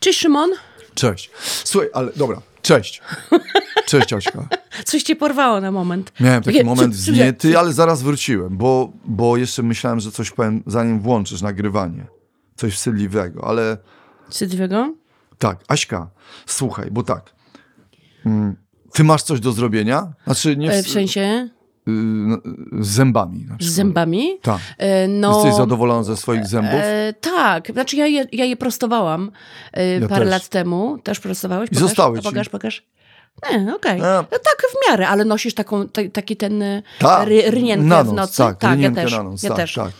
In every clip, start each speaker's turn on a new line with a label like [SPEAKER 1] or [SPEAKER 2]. [SPEAKER 1] Cześć Szymon,
[SPEAKER 2] Cześć. Słuchaj, ale dobra, cześć. Cześć Aśka.
[SPEAKER 1] coś cię porwało na moment.
[SPEAKER 2] Miałem taki
[SPEAKER 1] Takie-
[SPEAKER 2] moment
[SPEAKER 1] czy- czy- że-
[SPEAKER 2] zniety, ale zaraz wróciłem, bo, bo jeszcze myślałem, że coś powiem, zanim włączysz nagrywanie. Coś wstydliwego, ale
[SPEAKER 1] Sydwiego?
[SPEAKER 2] tak, Aśka, słuchaj, bo tak. Mm, Ty masz coś do zrobienia? Znaczy nie
[SPEAKER 1] E,
[SPEAKER 2] w,
[SPEAKER 1] W sensie
[SPEAKER 2] y, no, y, z zębami. Na przykład.
[SPEAKER 1] z zębami?
[SPEAKER 2] Tak.
[SPEAKER 1] E, No,
[SPEAKER 2] Jesteś zadowolona ze swoich zębów?
[SPEAKER 1] e, tak, znaczy ja je, ja je prostowałam e,
[SPEAKER 2] Ja
[SPEAKER 1] parę
[SPEAKER 2] też.
[SPEAKER 1] lat temu. Też prostowałeś?
[SPEAKER 2] I zostały
[SPEAKER 1] A
[SPEAKER 2] ci.
[SPEAKER 1] Pokaż, pokaż. Nie, okej.
[SPEAKER 2] A.
[SPEAKER 1] No tak w miarę, ale nosisz taką, ta- taki ten e,
[SPEAKER 2] Tak,
[SPEAKER 1] ry, rynienkę
[SPEAKER 2] na noc,
[SPEAKER 1] w nocy.
[SPEAKER 2] Tak,
[SPEAKER 1] ja
[SPEAKER 2] rynienkę
[SPEAKER 1] też.
[SPEAKER 2] na noc,
[SPEAKER 1] ja
[SPEAKER 2] tak,
[SPEAKER 1] też.
[SPEAKER 2] tak.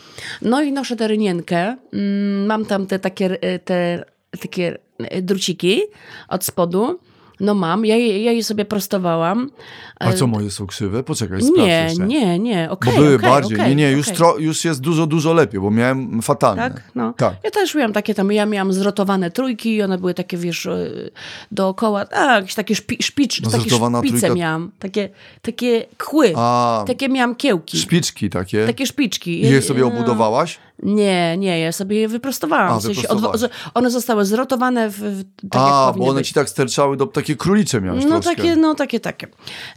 [SPEAKER 1] No i noszę tę rynienkę. Mm, Mam tam te takie, e, te, takie e, druciki od spodu. No mam, ja je, ja je sobie prostowałam.
[SPEAKER 2] A co, moje są krzywe? Poczekaj, sprawdzę
[SPEAKER 1] E, Nie,
[SPEAKER 2] jeszcze.
[SPEAKER 1] nie, nie, okej,
[SPEAKER 2] Bo były
[SPEAKER 1] okej,
[SPEAKER 2] bardziej.
[SPEAKER 1] okej,
[SPEAKER 2] nie, nie, już,
[SPEAKER 1] okej.
[SPEAKER 2] tro, już jest dużo, dużo lepiej, bo miałem fatalne.
[SPEAKER 1] Tak? No.
[SPEAKER 2] Tak.
[SPEAKER 1] Ja też miałam takie tam, ja miałam zrotowane trójki i one były takie, wiesz, yy, dookoła, a, jakieś takie szpi, szpicz,
[SPEAKER 2] No,
[SPEAKER 1] takie
[SPEAKER 2] zrotowana
[SPEAKER 1] szpice
[SPEAKER 2] trójka-
[SPEAKER 1] miałam, takie, takie kły,
[SPEAKER 2] A,
[SPEAKER 1] takie miałam kiełki,
[SPEAKER 2] szpiczki takie.
[SPEAKER 1] takie szpiczki.
[SPEAKER 2] I je sobie
[SPEAKER 1] No.
[SPEAKER 2] obudowałaś?
[SPEAKER 1] Nie, nie, ja sobie je wyprostowałam.
[SPEAKER 2] A,
[SPEAKER 1] w sensie
[SPEAKER 2] wyprostowałaś.
[SPEAKER 1] odwo- z- one zostały zrotowane w, w tak jak
[SPEAKER 2] A, bo
[SPEAKER 1] powinny
[SPEAKER 2] one
[SPEAKER 1] być.
[SPEAKER 2] ci tak sterczały, do, takie królicze miałeś
[SPEAKER 1] No
[SPEAKER 2] troszkę.
[SPEAKER 1] takie, no takie, takie.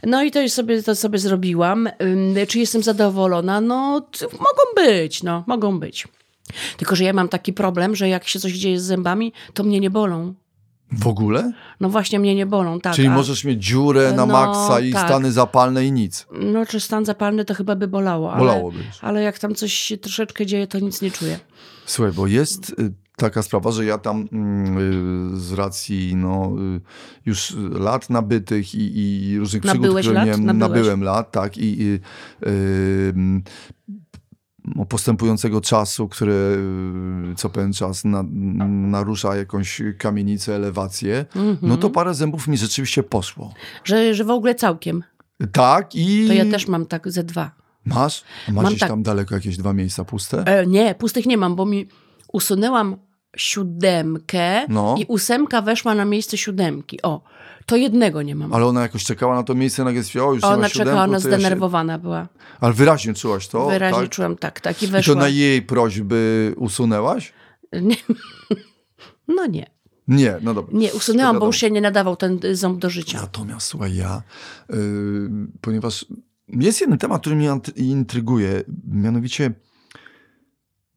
[SPEAKER 1] No i to już sobie, to sobie zrobiłam. Ym, Czy jestem zadowolona? No, t- mogą być, no, mogą być. Tylko, że ja mam taki problem, że jak się coś dzieje z zębami, to mnie nie bolą.
[SPEAKER 2] W ogóle?
[SPEAKER 1] No właśnie mnie nie bolą, tak.
[SPEAKER 2] Czyli
[SPEAKER 1] a-
[SPEAKER 2] możesz mieć dziurę
[SPEAKER 1] No,
[SPEAKER 2] na maksa i
[SPEAKER 1] tak.
[SPEAKER 2] stany zapalne i nic.
[SPEAKER 1] No czy stan zapalny to chyba by bolało. Ale,
[SPEAKER 2] Bolałoby.
[SPEAKER 1] Ale jak tam coś się troszeczkę dzieje, to nic nie czuję.
[SPEAKER 2] Słuchaj, bo jest y, taka sprawa, że ja tam mm, y, z racji no, y, już y, lat nabytych i, i różnych przygód,
[SPEAKER 1] Nabyłeś
[SPEAKER 2] które
[SPEAKER 1] lat?
[SPEAKER 2] miałem,
[SPEAKER 1] Nabyłeś.
[SPEAKER 2] nabyłem lat, tak, i i, y, mm, no, postępującego czasu, które y, co pewien czas na, narusza jakąś kamienicę, elewację, no
[SPEAKER 1] Mhm.
[SPEAKER 2] to parę zębów mi rzeczywiście poszło.
[SPEAKER 1] Że, że w ogóle całkiem.
[SPEAKER 2] Tak i...
[SPEAKER 1] To ja też mam tak ze dwa.
[SPEAKER 2] Masz? A Masz
[SPEAKER 1] Mam
[SPEAKER 2] gdzieś
[SPEAKER 1] tak.
[SPEAKER 2] tam daleko jakieś dwa miejsca puste?
[SPEAKER 1] E, nie, pustych nie mam, bo mi usunęłam siódemkę
[SPEAKER 2] No.
[SPEAKER 1] i ósemka weszła na miejsce siódemki. O, to jednego nie mam.
[SPEAKER 2] Ale ona jakoś czekała na to miejsce, nagle stwierdziła, o, już nie ma
[SPEAKER 1] Ona
[SPEAKER 2] siódemku,
[SPEAKER 1] czekała, ona
[SPEAKER 2] to ja się-
[SPEAKER 1] zdenerwowana była.
[SPEAKER 2] Ale wyraźnie czułaś to?
[SPEAKER 1] Wyraźnie
[SPEAKER 2] tak?
[SPEAKER 1] czułam tak, tak i
[SPEAKER 2] I to
[SPEAKER 1] weszła.
[SPEAKER 2] na jej prośby usunęłaś?
[SPEAKER 1] Nie. No nie,
[SPEAKER 2] Nie, no dobra.
[SPEAKER 1] nie, usunęłam,
[SPEAKER 2] To
[SPEAKER 1] bo
[SPEAKER 2] wiadomo.
[SPEAKER 1] już się nie nadawał ten y, ząb do życia.
[SPEAKER 2] Natomiast słuchaj, ja, y, ponieważ jest jeden temat, który mnie ant- intryguje, mianowicie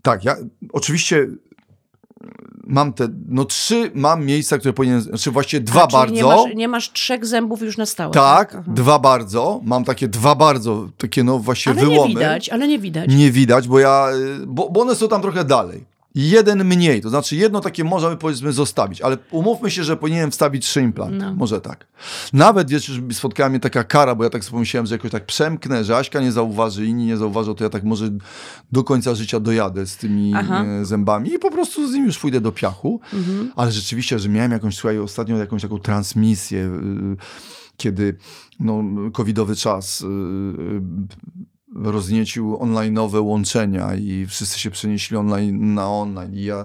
[SPEAKER 2] tak, ja oczywiście mam te, no trzy mam miejsca, które powinienem, znaczy właściwie dwa
[SPEAKER 1] A, czyli
[SPEAKER 2] bardzo.
[SPEAKER 1] Nie masz, nie masz trzech zębów już na stałe.
[SPEAKER 2] tak,
[SPEAKER 1] Aha.
[SPEAKER 2] dwa bardzo, mam takie dwa bardzo, takie no właśnie
[SPEAKER 1] Ale
[SPEAKER 2] wyłomy.
[SPEAKER 1] nie widać, ale nie widać.
[SPEAKER 2] Nie widać, bo ja, y, bo, bo one są tam trochę dalej. Jeden mniej, to znaczy jedno takie możemy powiedzmy zostawić, ale umówmy się, że powinienem wstawić trzy implanty,
[SPEAKER 1] No.
[SPEAKER 2] może tak. Nawet wiesz, już spotkała mnie taka kara, bo ja tak sobie pomyślałem, że jakoś tak przemknę, że Aśka nie zauważy, inni nie zauważą, to ja tak może do końca życia dojadę z tymi
[SPEAKER 1] Aha.
[SPEAKER 2] e, zębami i po prostu z nim już pójdę do piachu.
[SPEAKER 1] Mhm.
[SPEAKER 2] Ale rzeczywiście, że miałem jakąś, słuchaj, ostatnio jakąś taką transmisję, y, kiedy no, covidowy czas y, y, rozniecił online'owe łączenia i wszyscy się przenieśli online na online i ja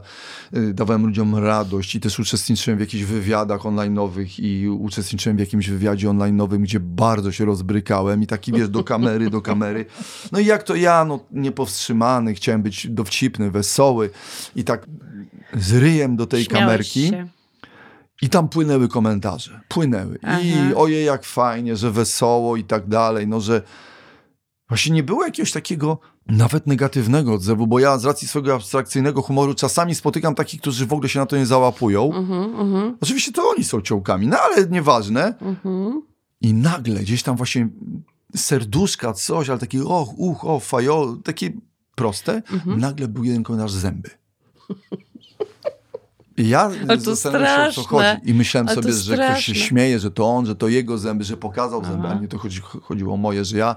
[SPEAKER 2] y, dawałem ludziom radość i też uczestniczyłem w jakichś wywiadach online'owych i uczestniczyłem w jakimś wywiadzie online'owym, gdzie bardzo się rozbrykałem i taki wiesz, do kamery, do kamery. No i jak to ja, no niepowstrzymany, chciałem być dowcipny, wesoły i tak z ryjem do tej
[SPEAKER 1] Śmiałeś
[SPEAKER 2] kamerki.
[SPEAKER 1] się.
[SPEAKER 2] I tam płynęły komentarze. Płynęły. I
[SPEAKER 1] Aha.
[SPEAKER 2] ojej, jak fajnie, że wesoło i tak dalej. No, że właśnie nie było jakiegoś takiego nawet negatywnego odzewu, bo ja z racji swojego abstrakcyjnego humoru czasami spotykam takich, którzy w ogóle się na to nie załapują.
[SPEAKER 1] Mhm, mhm,
[SPEAKER 2] Oczywiście to oni są ciołkami, no ale nieważne.
[SPEAKER 1] mhm.
[SPEAKER 2] I nagle gdzieś tam właśnie serduszka, coś, ale taki och, uch, o, fajo, takie proste.
[SPEAKER 1] Mhm.
[SPEAKER 2] Nagle był jeden komentarz zęby. I ja
[SPEAKER 1] Ale to
[SPEAKER 2] zastanawiam się, o co chodzi.
[SPEAKER 1] straszne.
[SPEAKER 2] I myślałem
[SPEAKER 1] Ale to
[SPEAKER 2] sobie, że ktoś się
[SPEAKER 1] straszne.
[SPEAKER 2] śmieje, że to on, że to jego zęby, że pokazał zęby, a
[SPEAKER 1] Aha.
[SPEAKER 2] nie to chodzi, chodziło o moje, że ja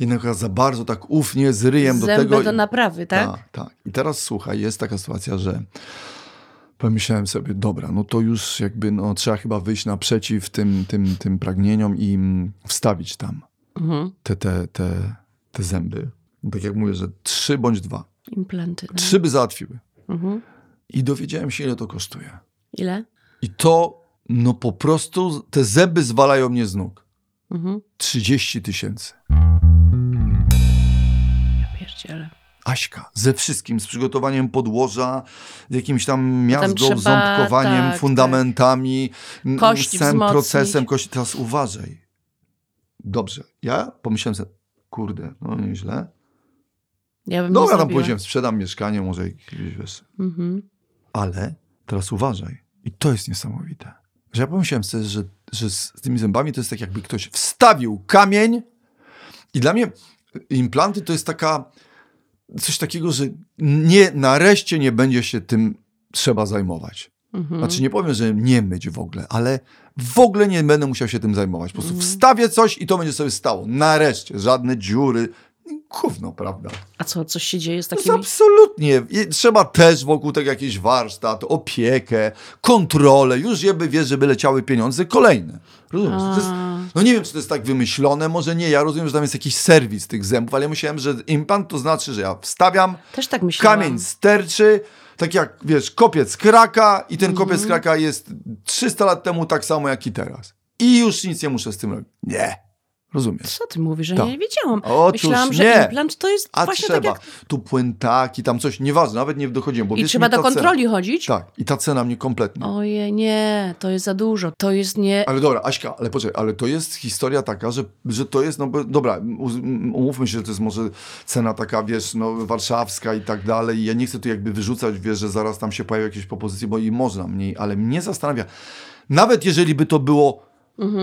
[SPEAKER 2] jednak ja za bardzo tak ufnie z ryjem do
[SPEAKER 1] Zęby
[SPEAKER 2] tego.
[SPEAKER 1] do
[SPEAKER 2] i-
[SPEAKER 1] naprawy, tak?
[SPEAKER 2] tak, tak. I teraz słuchaj, jest taka sytuacja, że pomyślałem sobie, dobra, no to już jakby no, trzeba chyba wyjść naprzeciw tym, tym, tym pragnieniom i mm, wstawić tam
[SPEAKER 1] Mhm.
[SPEAKER 2] te, te, te, te zęby. No Tak jak mówię, że trzy bądź dwa.
[SPEAKER 1] Implanty. No.
[SPEAKER 2] Trzy by załatwiły.
[SPEAKER 1] Mhm.
[SPEAKER 2] I dowiedziałem się, ile to kosztuje.
[SPEAKER 1] Ile?
[SPEAKER 2] I to, no po prostu te zęby zwalają mnie z nóg.
[SPEAKER 1] Mhm.
[SPEAKER 2] 30 tysięcy.
[SPEAKER 1] Ja pierdzielę.
[SPEAKER 2] Aśka, ze wszystkim, z przygotowaniem podłoża, jakimś tam miazdą,
[SPEAKER 1] trzeba-
[SPEAKER 2] ząbkowaniem,
[SPEAKER 1] tak,
[SPEAKER 2] fundamentami, m,
[SPEAKER 1] Kości
[SPEAKER 2] z całym
[SPEAKER 1] wzmocnić.
[SPEAKER 2] procesem. Kości. Teraz uważaj. Dobrze, ja pomyślałem sobie, kurde, no nieźle.
[SPEAKER 1] Ja bym
[SPEAKER 2] Dobra,
[SPEAKER 1] nie
[SPEAKER 2] tam
[SPEAKER 1] zrobiła.
[SPEAKER 2] pójdziemy, sprzedam mieszkanie, może jakieś, wiesz.
[SPEAKER 1] Mhm.
[SPEAKER 2] Ale teraz uważaj. I to jest niesamowite. Że ja pomyślałem sobie, że, że z tymi zębami to jest tak, jakby ktoś wstawił kamień. I dla mnie implanty to jest taka coś takiego, że nie, nareszcie nie będzie się tym trzeba zajmować.
[SPEAKER 1] Mhm.
[SPEAKER 2] Znaczy nie powiem, że nie myć w ogóle, ale w ogóle nie będę musiał się tym zajmować. Po prostu wstawię coś i to będzie sobie stało. Nareszcie. Żadne dziury. Gówno, prawda?
[SPEAKER 1] A co, coś się dzieje z
[SPEAKER 2] No
[SPEAKER 1] takimi...
[SPEAKER 2] absolutnie. I trzeba też wokół tego jakiś warsztat, opiekę, kontrolę. Już jeby wiesz, żeby leciały pieniądze kolejne. Rozumiesz? To jest,
[SPEAKER 1] A.
[SPEAKER 2] no nie wiem, czy to jest tak wymyślone, może nie. Ja rozumiem, że tam jest jakiś serwis tych zębów, ale ja myślałem, że implant to znaczy, że ja wstawiam,
[SPEAKER 1] Też tak myślałam.
[SPEAKER 2] kamień sterczy, tak jak, wiesz, kopiec kraka i ten kopiec
[SPEAKER 1] Mhm.
[SPEAKER 2] kraka jest 300 lat temu tak samo jak i teraz. I już nic nie muszę z tym robić. Nie. Rozumiesz?
[SPEAKER 1] Co ty mówisz, że
[SPEAKER 2] Tak.
[SPEAKER 1] nie wiedziałam.
[SPEAKER 2] Otóż
[SPEAKER 1] Myślałam, że
[SPEAKER 2] nie.
[SPEAKER 1] implant to jest
[SPEAKER 2] A
[SPEAKER 1] właśnie
[SPEAKER 2] trzeba.
[SPEAKER 1] tak jak...
[SPEAKER 2] Tu płętaki, tam coś, nieważne, nawet nie dochodziłem. Bo
[SPEAKER 1] I
[SPEAKER 2] wiesz,
[SPEAKER 1] trzeba
[SPEAKER 2] mi ta
[SPEAKER 1] do kontroli chodzić?
[SPEAKER 2] Cena, tak, i ta cena mnie kompletnie.
[SPEAKER 1] Ojej, nie, to jest za dużo. To jest nie...
[SPEAKER 2] Ale dobra, Aśka, ale poczekaj, ale to jest historia taka, że, że to jest, no bo- dobra, uz- m- umówmy się, że to jest może cena taka, wiesz, no warszawska i tak dalej. Ja nie chcę tu jakby wyrzucać, wiesz, że zaraz tam się pojawią jakieś propozycje, bo i można mniej, ale mnie zastanawia, nawet jeżeli by to było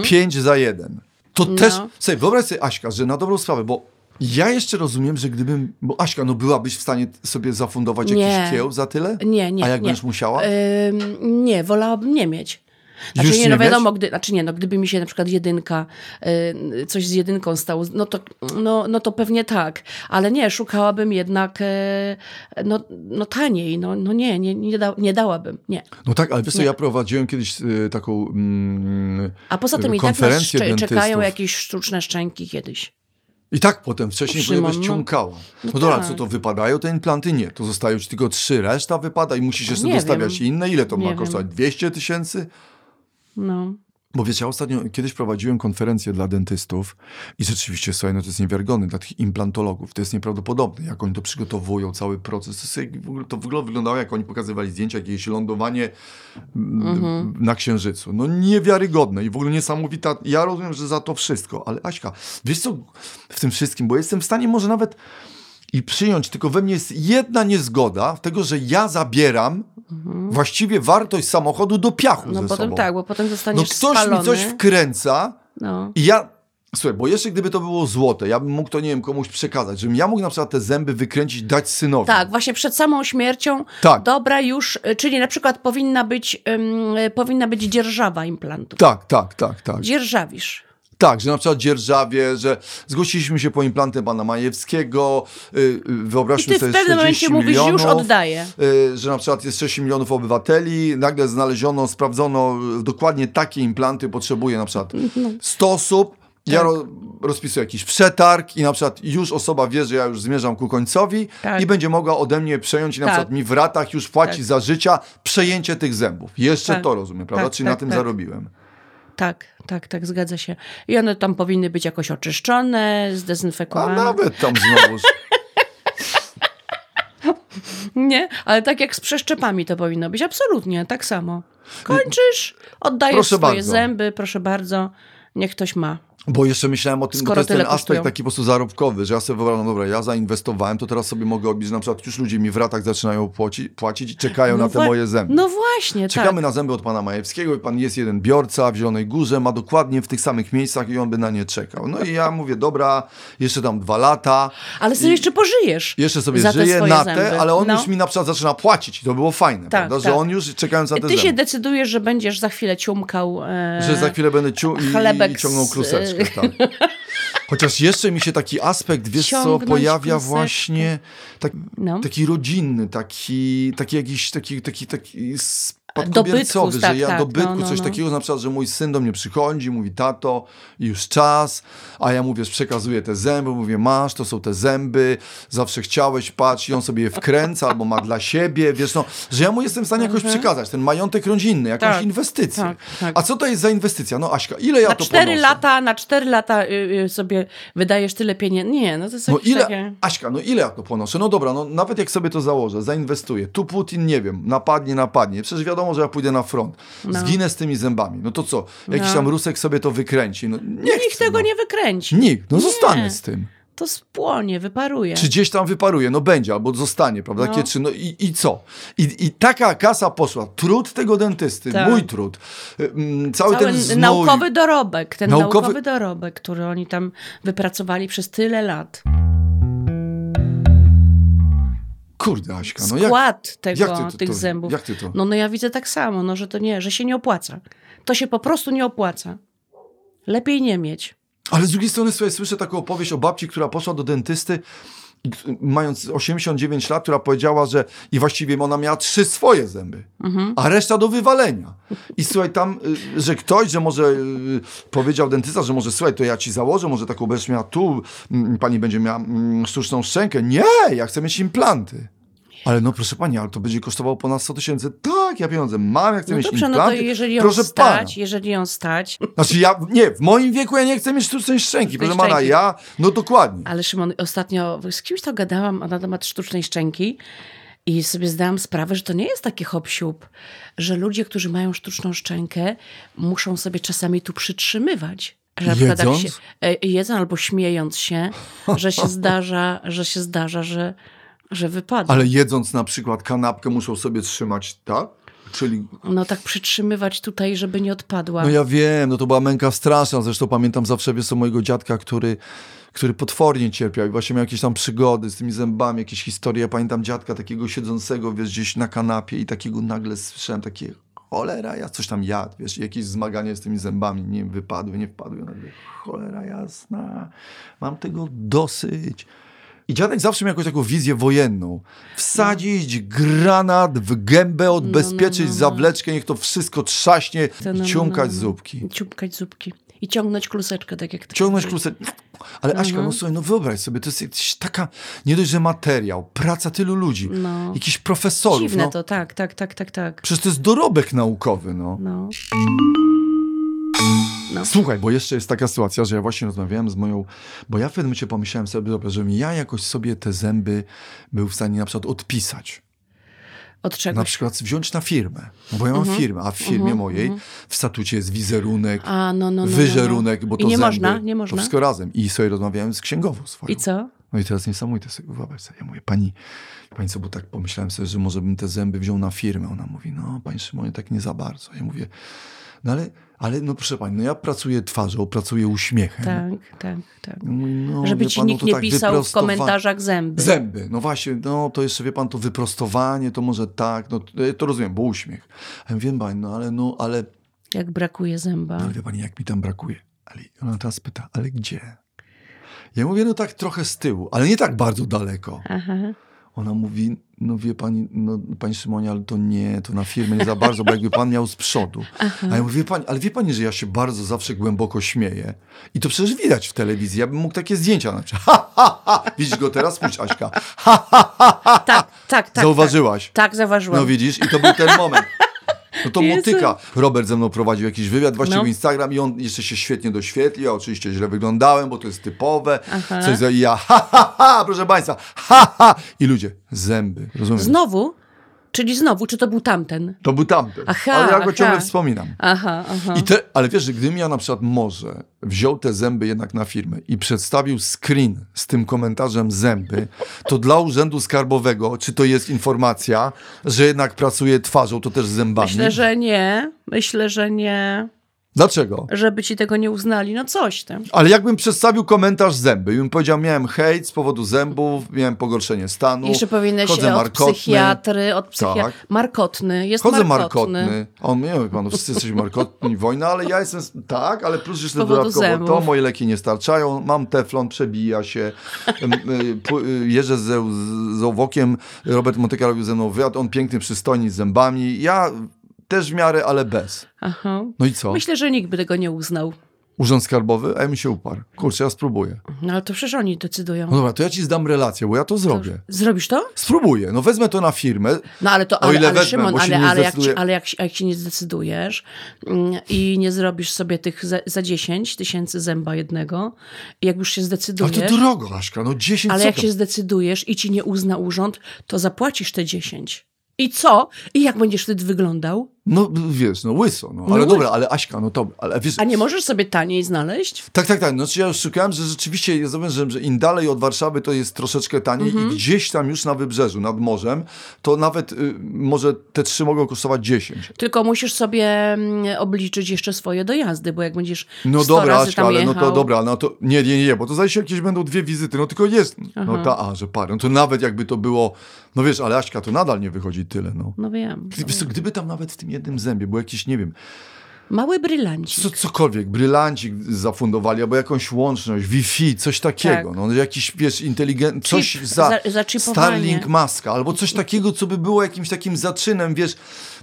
[SPEAKER 2] 5 za 1, to
[SPEAKER 1] Mhm. No.
[SPEAKER 2] też, sobie wyobraź sobie Aśka, że na dobrą sprawę, bo ja jeszcze rozumiem, że gdybym, bo Aśka, no byłabyś w stanie sobie zafundować
[SPEAKER 1] Nie.
[SPEAKER 2] jakiś kieł za tyle?
[SPEAKER 1] Nie, nie,
[SPEAKER 2] A jak
[SPEAKER 1] nie. E,
[SPEAKER 2] będziesz musiała?
[SPEAKER 1] Ym, nie, wolałabym nie mieć. Znaczy
[SPEAKER 2] Już
[SPEAKER 1] nie,
[SPEAKER 2] nie
[SPEAKER 1] no
[SPEAKER 2] mieć?
[SPEAKER 1] wiadomo, gdy, znaczy nie, no gdyby mi się na przykład jedynka, y, coś z jedynką stało, no to, no, no to pewnie tak, ale nie, szukałabym jednak, y, no, no taniej, no, no nie, nie, nie, da, nie dałabym, nie.
[SPEAKER 2] No tak, ale wiesz co,
[SPEAKER 1] Nie.
[SPEAKER 2] ja prowadziłem kiedyś y, taką mm,
[SPEAKER 1] A poza tym i tak nas
[SPEAKER 2] Konferencje
[SPEAKER 1] szcze- czekają
[SPEAKER 2] dentystów.
[SPEAKER 1] jakieś sztuczne szczęki kiedyś.
[SPEAKER 2] I tak potem wcześniej
[SPEAKER 1] Szymon,
[SPEAKER 2] ponieważ
[SPEAKER 1] no.
[SPEAKER 2] ciąkała. No,
[SPEAKER 1] No
[SPEAKER 2] dobra,
[SPEAKER 1] tak.
[SPEAKER 2] co to wypadają te implanty? Nie, to zostają ci tylko trzy, reszta wypada i musisz jeszcze
[SPEAKER 1] Nie
[SPEAKER 2] dostawiać
[SPEAKER 1] wiem.
[SPEAKER 2] inne. Ile to
[SPEAKER 1] Nie
[SPEAKER 2] ma
[SPEAKER 1] wiem.
[SPEAKER 2] kosztować? 200 tysięcy?
[SPEAKER 1] No.
[SPEAKER 2] Bo wiecie, ja ostatnio kiedyś prowadziłem konferencję dla dentystów i rzeczywiście, słuchaj, no to jest niewiarygodne dla tych implantologów. To jest nieprawdopodobne, jak oni to przygotowują, cały proces. To, jest, jak w ogóle, to w ogóle wyglądało, jak oni pokazywali zdjęcia, jakieś lądowanie mm,
[SPEAKER 1] Mhm.
[SPEAKER 2] na Księżycu. No niewiarygodne i w ogóle niesamowita. Ja rozumiem, że za to wszystko, ale Aśka, wiesz co w tym wszystkim, bo jestem w stanie może nawet i przyjąć, tylko we mnie jest jedna niezgoda tego, że ja zabieram właściwie wartość samochodu do piachu
[SPEAKER 1] Mhm. No
[SPEAKER 2] ze
[SPEAKER 1] potem
[SPEAKER 2] sobą.
[SPEAKER 1] tak, bo potem
[SPEAKER 2] No
[SPEAKER 1] zostaniesz
[SPEAKER 2] ktoś
[SPEAKER 1] spalony.
[SPEAKER 2] mi coś wkręca
[SPEAKER 1] No.
[SPEAKER 2] i ja... Słuchaj, bo jeszcze gdyby to było złote, ja bym mógł to, nie wiem, komuś przekazać. Żebym ja mógł na przykład te zęby wykręcić, dać synowi.
[SPEAKER 1] Tak, właśnie przed samą śmiercią.
[SPEAKER 2] Tak.
[SPEAKER 1] Dobra już, y, czyli na przykład powinna być, ym, y, powinna być dzierżawa implantu.
[SPEAKER 2] Tak, tak, tak, tak.
[SPEAKER 1] Dzierżawisz.
[SPEAKER 2] Tak, że na przykład dzierżawie, że zgłosiliśmy się po implanty pana Majewskiego, y, y,
[SPEAKER 1] I
[SPEAKER 2] wyobraźmy
[SPEAKER 1] ty
[SPEAKER 2] sobie
[SPEAKER 1] w pewnym
[SPEAKER 2] 40
[SPEAKER 1] momencie mówisz,
[SPEAKER 2] milionów,
[SPEAKER 1] już oddaję.
[SPEAKER 2] y, że na przykład jest 6 milionów obywateli, nagle znaleziono, sprawdzono y, dokładnie takie implanty potrzebuje na przykład 100 osób. Ja
[SPEAKER 1] Mhm. Tak.
[SPEAKER 2] ro, rozpisuję jakiś przetarg i na przykład już osoba wie, że ja już zmierzam ku końcowi
[SPEAKER 1] Tak.
[SPEAKER 2] i będzie mogła ode mnie przejąć i na
[SPEAKER 1] Tak.
[SPEAKER 2] przykład mi w ratach już płaci
[SPEAKER 1] Tak.
[SPEAKER 2] za życia przejęcie tych zębów. Jeszcze
[SPEAKER 1] Tak.
[SPEAKER 2] to rozumiem, prawda?
[SPEAKER 1] Tak,
[SPEAKER 2] Czyli
[SPEAKER 1] tak,
[SPEAKER 2] na tym
[SPEAKER 1] tak.
[SPEAKER 2] zarobiłem.
[SPEAKER 1] Tak, tak, tak, zgadza się. I one tam powinny być jakoś oczyszczone,
[SPEAKER 2] A
[SPEAKER 1] zdezynfekowane.
[SPEAKER 2] nawet tam znowuż...
[SPEAKER 1] Nie, ale tak jak z przeszczepami to powinno być. Absolutnie, tak samo. Kończysz, oddajesz
[SPEAKER 2] Proszę
[SPEAKER 1] swoje
[SPEAKER 2] bardzo.
[SPEAKER 1] zęby, proszę bardzo, niech ktoś ma.
[SPEAKER 2] Bo jeszcze myślałem o tym, bo
[SPEAKER 1] Skoro
[SPEAKER 2] to jest ten
[SPEAKER 1] tyle
[SPEAKER 2] aspekt
[SPEAKER 1] kosztują.
[SPEAKER 2] taki po prostu zarobkowy, że ja sobie wyobrażam, no dobra, ja zainwestowałem, to teraz sobie mogę odbić, że na przykład już ludzie mi w ratach zaczynają płaci, płacić i czekają na te
[SPEAKER 1] wła-
[SPEAKER 2] moje zęby.
[SPEAKER 1] No właśnie,
[SPEAKER 2] Czekamy
[SPEAKER 1] tak.
[SPEAKER 2] na zęby od pana Majewskiego i pan jest jeden biorca w Zielonej Górze, ma dokładnie w tych samych miejscach i on by na nie czekał. No i ja mówię, dobra, jeszcze tam dwa lata,
[SPEAKER 1] Ale sobie jeszcze pożyjesz.
[SPEAKER 2] jeszcze sobie
[SPEAKER 1] za te
[SPEAKER 2] żyję
[SPEAKER 1] swoje
[SPEAKER 2] na
[SPEAKER 1] zęby.
[SPEAKER 2] te, ale on
[SPEAKER 1] No.
[SPEAKER 2] już mi na przykład zaczyna płacić i to było fajne, prawda, że
[SPEAKER 1] tak.
[SPEAKER 2] on już czekając na te
[SPEAKER 1] Ty
[SPEAKER 2] zęby.
[SPEAKER 1] się decydujesz, że będziesz za chwilę ciumkał. E...
[SPEAKER 2] Że za chwilę będę ciu i,
[SPEAKER 1] chlebek
[SPEAKER 2] i ciągnął
[SPEAKER 1] z-
[SPEAKER 2] kluseczkę. Tak. Chociaż jeszcze mi się taki aspekt, wiesz co,
[SPEAKER 1] Ciągnąć
[SPEAKER 2] pojawia
[SPEAKER 1] kluseczkę.
[SPEAKER 2] właśnie tak,
[SPEAKER 1] No.
[SPEAKER 2] taki rodzinny, taki, taki jakiś, taki, taki, taki spadkobiercowy,
[SPEAKER 1] Dobytków, tak,
[SPEAKER 2] że ja
[SPEAKER 1] tak,
[SPEAKER 2] dobytku,
[SPEAKER 1] no, no,
[SPEAKER 2] coś
[SPEAKER 1] no.
[SPEAKER 2] takiego, na przykład, że mój syn do mnie przychodzi, mówi tato, już czas, a ja mu wiesz, przekazuję te zęby, mówię masz, to są te zęby, zawsze chciałeś, patrz, i on sobie je wkręca albo ma dla siebie, wiesz, no, że ja mu jestem w stanie jakoś przekazać, ten majątek rodzinny, jakąś
[SPEAKER 1] Mhm. Tak,
[SPEAKER 2] inwestycję.
[SPEAKER 1] tak, tak.
[SPEAKER 2] A co to jest za inwestycja? No Aśka, ile ja
[SPEAKER 1] Na
[SPEAKER 2] to
[SPEAKER 1] cztery
[SPEAKER 2] ponoszę?
[SPEAKER 1] lata, na cztery lata y, y, sobie wydajesz tyle pieniędzy. Nie, no to jest
[SPEAKER 2] No
[SPEAKER 1] jakieś
[SPEAKER 2] ile,
[SPEAKER 1] takie...
[SPEAKER 2] Aśka, no ile ja to ponoszę? No dobra, no nawet jak sobie to założę, zainwestuję, tu Putin, nie wiem, napadnie, napadnie, przecież wiadomo, że ja pójdę na front, zginę z tymi zębami, no to co, jakiś
[SPEAKER 1] No.
[SPEAKER 2] tam Rusek sobie to wykręci, no nie
[SPEAKER 1] Nikt
[SPEAKER 2] chcę,
[SPEAKER 1] tego
[SPEAKER 2] no.
[SPEAKER 1] nie wykręci.
[SPEAKER 2] Nikt, no
[SPEAKER 1] Nie.
[SPEAKER 2] zostanę z tym.
[SPEAKER 1] To spłonie, wyparuje.
[SPEAKER 2] Czy gdzieś tam wyparuje, no będzie, albo zostanie, prawda?
[SPEAKER 1] No.
[SPEAKER 2] Takie trzy, no i, i co? I, I taka kasa poszła, trud tego dentysty,
[SPEAKER 1] Tak.
[SPEAKER 2] mój trud, ym, cały,
[SPEAKER 1] Cały
[SPEAKER 2] ten znój,
[SPEAKER 1] naukowy dorobek, ten naukowy...
[SPEAKER 2] Naukowy-
[SPEAKER 1] dorobek, który oni tam wypracowali przez tyle lat.
[SPEAKER 2] kurde Aśka, no jak,
[SPEAKER 1] Skład tego,
[SPEAKER 2] jak ty to,
[SPEAKER 1] tych
[SPEAKER 2] to,
[SPEAKER 1] zębów.
[SPEAKER 2] Jak ty to?
[SPEAKER 1] No, no ja widzę tak samo, no, że to nie, że się nie opłaca. To się po prostu nie opłaca. Lepiej nie mieć.
[SPEAKER 2] Ale z drugiej strony słuchaj, słyszę taką opowieść o babci, która poszła do dentysty i k- mając 89 lat, która powiedziała, że i właściwie ona miała trzy swoje zęby,
[SPEAKER 1] Mhm.
[SPEAKER 2] a reszta do wywalenia. I słuchaj, tam, y, że ktoś, że może y, powiedział dentysta, że może słuchaj, to ja ci założę, może taką będziesz miała tu, mm, pani będzie miała mm, sztuczną szczękę. Nie, ja chcę mieć implanty. Ale no proszę pani, ale to będzie kosztowało ponad 100 tysięcy. Tak, ja pieniądze mam, ja chcę
[SPEAKER 1] No
[SPEAKER 2] mieć
[SPEAKER 1] dobrze, no to
[SPEAKER 2] implanty.
[SPEAKER 1] jeżeli ją
[SPEAKER 2] proszę
[SPEAKER 1] stać,
[SPEAKER 2] pana.
[SPEAKER 1] jeżeli ją stać.
[SPEAKER 2] Znaczy ja, nie, w moim wieku ja nie chcę mieć sztucznej szczęki, proszę pana,
[SPEAKER 1] szczęki.
[SPEAKER 2] ja, no dokładnie.
[SPEAKER 1] Ale Szymon, ostatnio z kimś to gadałam na temat sztucznej szczęki i sobie zdałam sprawę, że to nie jest taki hop siup, że ludzie, którzy mają sztuczną szczękę, muszą sobie czasami tu przytrzymywać. Że na przykład jak
[SPEAKER 2] Jedząc?
[SPEAKER 1] Się, e, jedzą albo śmiejąc się, że się zdarza, że się zdarza, że, że wypada.
[SPEAKER 2] Ale jedząc na przykład kanapkę muszą sobie trzymać, tak? Czyli,
[SPEAKER 1] No tak przytrzymywać tutaj, żeby nie odpadła.
[SPEAKER 2] no ja wiem, no to była męka straszna, zresztą pamiętam zawsze, wiesz, co, mojego dziadka, który, który potwornie cierpiał i właśnie miał jakieś tam przygody z tymi zębami, jakieś historie. Ja pamiętam dziadka takiego siedzącego, wiesz, gdzieś na kanapie i takiego nagle słyszałem takie, cholera, ja coś tam jadł, wiesz, i jakieś zmaganie z tymi zębami, nie wiem, wypadły, nie wpadły, Ja nagle, cholera jasna, mam tego dosyć. I dziadek zawsze miał jakąś taką wizję wojenną. Wsadzić granat w gębę, odbezpieczyć
[SPEAKER 1] no, no.
[SPEAKER 2] zawleczkę, niech to wszystko trzaśnie
[SPEAKER 1] To no,
[SPEAKER 2] i ciąkać
[SPEAKER 1] no, no.
[SPEAKER 2] zupki.
[SPEAKER 1] Ciupkać zupki. I ciągnąć kluseczkę, tak jak ty.
[SPEAKER 2] Ciągnąć klusę. Ale Aśka, no słuchaj, no wyobraź sobie, to jest jakaś taka, nie dość, że materiał, praca tylu ludzi,
[SPEAKER 1] No.
[SPEAKER 2] jakichś profesorów.
[SPEAKER 1] Dziwne
[SPEAKER 2] no.
[SPEAKER 1] to, tak, tak, tak, tak, tak.
[SPEAKER 2] Przecież to jest dorobek naukowy, no.
[SPEAKER 1] No.
[SPEAKER 2] Słuchaj, bo jeszcze jest taka sytuacja, że ja właśnie rozmawiałem z moją, bo ja w pewnym momencie pomyślałem sobie, dobra, żebym ja jakoś sobie te zęby był w stanie na przykład odpisać.
[SPEAKER 1] Od
[SPEAKER 2] Na
[SPEAKER 1] czegoś.
[SPEAKER 2] przykład wziąć na firmę, no bo ja mam firmę, a w firmie mojej w statucie jest wizerunek,
[SPEAKER 1] Mhm. A, no, no, no,
[SPEAKER 2] wyżerunek,
[SPEAKER 1] no, no.
[SPEAKER 2] bo
[SPEAKER 1] I
[SPEAKER 2] to
[SPEAKER 1] nie
[SPEAKER 2] zęby,
[SPEAKER 1] można, nie
[SPEAKER 2] To
[SPEAKER 1] można.
[SPEAKER 2] wszystko razem. I sobie rozmawiałem z księgową swoją.
[SPEAKER 1] I co?
[SPEAKER 2] No i teraz niesamowite sobie, wyobraź sobie, ja mówię, pani, pani co, bo tak pomyślałem sobie, że może bym te zęby wziął na firmę. Ona mówi, no pani Szymonie, tak nie za bardzo. Ja mówię, no ale, ale no proszę pani, no ja pracuję twarzą, pracuję uśmiechem.
[SPEAKER 1] Tak, tak, tak.
[SPEAKER 2] Mówi, No,
[SPEAKER 1] Żeby
[SPEAKER 2] wie
[SPEAKER 1] ci
[SPEAKER 2] pan, no
[SPEAKER 1] nikt
[SPEAKER 2] to
[SPEAKER 1] nie
[SPEAKER 2] tak
[SPEAKER 1] pisał w
[SPEAKER 2] wyprostowa-
[SPEAKER 1] komentarzach zęby.
[SPEAKER 2] Zęby, no właśnie, no to jeszcze wie pan, to wyprostowanie, to może tak, no to- ja to rozumiem, bo uśmiech. A Ja mówię, wiem pani, no ale, no ale,
[SPEAKER 1] Jak brakuje zęba.
[SPEAKER 2] ale wie pani, jak mi tam brakuje. Ale ona teraz pyta, ale gdzie? Ja mówię, no tak trochę z tyłu, ale nie tak bardzo daleko.
[SPEAKER 1] Aha.
[SPEAKER 2] Ona mówi, no wie pani, no pani Szymonie, ale to nie, to na firmę nie za bardzo, bo jakby pan miał z przodu. A ja mówię, wie pani, ale wie pani, że ja się bardzo zawsze głęboko śmieję. I to przecież widać w telewizji. Ja bym mógł takie zdjęcia na przykład. Ha, ha, ha. Widzisz go teraz? Spójrz, Aśka.
[SPEAKER 1] Tak, tak, tak.
[SPEAKER 2] Zauważyłaś.
[SPEAKER 1] Tak, tak zauważyłam.
[SPEAKER 2] No widzisz? I to był ten moment. No to
[SPEAKER 1] Jezu.
[SPEAKER 2] motyka. Robert ze mną prowadził jakiś wywiad, właściwie
[SPEAKER 1] No.
[SPEAKER 2] Instagram i on jeszcze się świetnie doświetlił. Ja oczywiście źle wyglądałem, bo to jest typowe.
[SPEAKER 1] Aha.
[SPEAKER 2] Coś za... I ja, ha, ha, ha, proszę państwa, ha, ha. I ludzie, zęby, rozumiesz?
[SPEAKER 1] Znowu? Czyli znowu, czy to był tamten?
[SPEAKER 2] To był tamten.
[SPEAKER 1] Aha,
[SPEAKER 2] ale ja go
[SPEAKER 1] aha. No.
[SPEAKER 2] ciągle wspominam.
[SPEAKER 1] Aha, aha.
[SPEAKER 2] I te, ale wiesz, że gdybym ja na przykład może wziął te zęby jednak na firmę i przedstawił screen z tym komentarzem zęby, to dla Urzędu Skarbowego, czy to jest informacja, że jednak pracuje twarzą, to też zębami?
[SPEAKER 1] Myślę, że nie. Myślę, że nie.
[SPEAKER 2] Dlaczego?
[SPEAKER 1] Żeby ci tego nie uznali. No coś tam.
[SPEAKER 2] Ale jakbym przedstawił komentarz zęby i bym powiedział, miałem hejt z powodu zębów, miałem pogorszenie stanu,
[SPEAKER 1] Jeszcze powinieneś
[SPEAKER 2] No,
[SPEAKER 1] e,
[SPEAKER 2] chodzę
[SPEAKER 1] od
[SPEAKER 2] markotny.
[SPEAKER 1] psychiatry, od psychiatry.
[SPEAKER 2] Tak.
[SPEAKER 1] Markotny, jest
[SPEAKER 2] Chodzę
[SPEAKER 1] markotny.
[SPEAKER 2] markotny. On nie wie pan, wszyscy jesteśmy markotni, wojna, ale ja jestem. s- Tak, ale plus jeszcze
[SPEAKER 1] powodu
[SPEAKER 2] dodatkowo
[SPEAKER 1] zębów.
[SPEAKER 2] to, moje leki nie starczają, mam teflon, przebija się. em, y, pły- y, Jeżdżę z, z, z owokiem, Robert Motyka robił ze mną wywiad, on piękny, przystojny z zębami. Ja Też w miarę, ale bez.
[SPEAKER 1] Aha.
[SPEAKER 2] No i co?
[SPEAKER 1] Myślę, że nikt by tego nie uznał.
[SPEAKER 2] Urząd Skarbowy? A ja mi się uparł. Kurczę, ja spróbuję.
[SPEAKER 1] No ale to przecież oni decydują.
[SPEAKER 2] No dobra, to ja ci zdam relację, bo ja to zrobię.
[SPEAKER 1] Zrobisz to?
[SPEAKER 2] Spróbuję. No wezmę to na firmę.
[SPEAKER 1] No ale to,
[SPEAKER 2] O
[SPEAKER 1] ale,
[SPEAKER 2] ile
[SPEAKER 1] ale
[SPEAKER 2] wezmę,
[SPEAKER 1] Szymon,
[SPEAKER 2] bo się
[SPEAKER 1] ale,
[SPEAKER 2] nie
[SPEAKER 1] ale, jak,
[SPEAKER 2] zdecyduję.
[SPEAKER 1] ci- ale jak, się- jak się nie zdecydujesz mm, i nie zrobisz sobie tych za, za 10 tysięcy zęba jednego, i jak już się
[SPEAKER 2] Ale
[SPEAKER 1] zdecydujesz,
[SPEAKER 2] to drogo, Aśka. No 10
[SPEAKER 1] ale
[SPEAKER 2] co
[SPEAKER 1] jak
[SPEAKER 2] to?
[SPEAKER 1] się zdecydujesz i ci nie uzna urząd, to zapłacisz te 10. I co? I jak będziesz wtedy wyglądał?
[SPEAKER 2] No wiesz, no łyso. No.
[SPEAKER 1] No
[SPEAKER 2] Ale dobra,
[SPEAKER 1] łyso.
[SPEAKER 2] ale Aśka, no dobra. Ale wiesz,
[SPEAKER 1] A nie możesz sobie taniej znaleźć?
[SPEAKER 2] Tak, tak, tak. Znaczy ja już szukałem, że rzeczywiście ja zauważyłem, że im dalej od Warszawy to jest troszeczkę taniej
[SPEAKER 1] Mhm.
[SPEAKER 2] i gdzieś tam już na wybrzeżu, nad morzem, to nawet y, może te trzy mogą kosztować 10.
[SPEAKER 1] Tylko musisz sobie mm, obliczyć jeszcze swoje dojazdy, bo jak będziesz
[SPEAKER 2] No
[SPEAKER 1] 100
[SPEAKER 2] dobra,
[SPEAKER 1] razy
[SPEAKER 2] Aśka,
[SPEAKER 1] tam
[SPEAKER 2] ale
[SPEAKER 1] jechał,
[SPEAKER 2] no to dobra, no to nie, nie, nie, bo to zaś jakieś będą dwie wizyty, no tylko jest,
[SPEAKER 1] Aha.
[SPEAKER 2] no ta, a, że parę, no to nawet jakby to było, no wiesz, ale Aśka, to nadal nie wychodzi tyle, no.
[SPEAKER 1] No wiem.
[SPEAKER 2] Gdy- Wiesz co, gdyby tam nawet w tym jednym zębie był jakiś, nie wiem,
[SPEAKER 1] Mały brylancik.
[SPEAKER 2] co, cokolwiek, brylancik zafundowali, albo jakąś łączność, Wi-Fi, coś takiego,
[SPEAKER 1] Tak.
[SPEAKER 2] no jakiś, wiesz, inteligent, coś za...
[SPEAKER 1] za- zaczipowanie.
[SPEAKER 2] Starlink maska, albo coś takiego, co by było jakimś takim zaczynem, wiesz,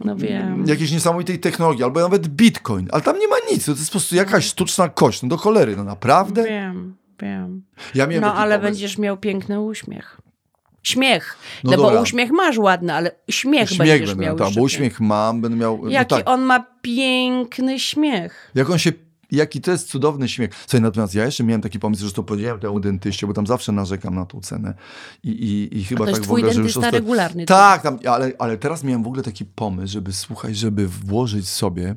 [SPEAKER 1] No wiem.
[SPEAKER 2] jakiejś niesamowitej technologii, albo nawet bitcoin, ale tam nie ma nic, to jest po prostu jakaś sztuczna kość, no do cholery, no naprawdę?
[SPEAKER 1] Wiem, wiem.
[SPEAKER 2] Ja miałem
[SPEAKER 1] No
[SPEAKER 2] taki
[SPEAKER 1] ale
[SPEAKER 2] pomysł.
[SPEAKER 1] będziesz miał piękny uśmiech. Śmiech. No,
[SPEAKER 2] No
[SPEAKER 1] bo
[SPEAKER 2] dobra.
[SPEAKER 1] uśmiech masz ładny, ale śmiech,
[SPEAKER 2] Śmiech
[SPEAKER 1] będziesz
[SPEAKER 2] będę
[SPEAKER 1] miał.
[SPEAKER 2] miał, tak,
[SPEAKER 1] jeszcze
[SPEAKER 2] bo uśmiech mam, będę miał, no
[SPEAKER 1] Jaki
[SPEAKER 2] tak,
[SPEAKER 1] on ma piękny śmiech.
[SPEAKER 2] jak on się... Jaki to jest cudowny śmiech. Słuchaj, natomiast ja jeszcze miałem taki pomysł, że to powiedziałem temu dentyście, bo tam zawsze narzekam na tą cenę. I, i, i chyba
[SPEAKER 1] To jest
[SPEAKER 2] tak w
[SPEAKER 1] twój
[SPEAKER 2] ogóle, że już
[SPEAKER 1] dentysta
[SPEAKER 2] ostat-
[SPEAKER 1] regularny.
[SPEAKER 2] Tak, tam, ale, ale teraz miałem w ogóle taki pomysł, żeby słuchaj, żeby włożyć
[SPEAKER 1] Mhm.
[SPEAKER 2] sobie.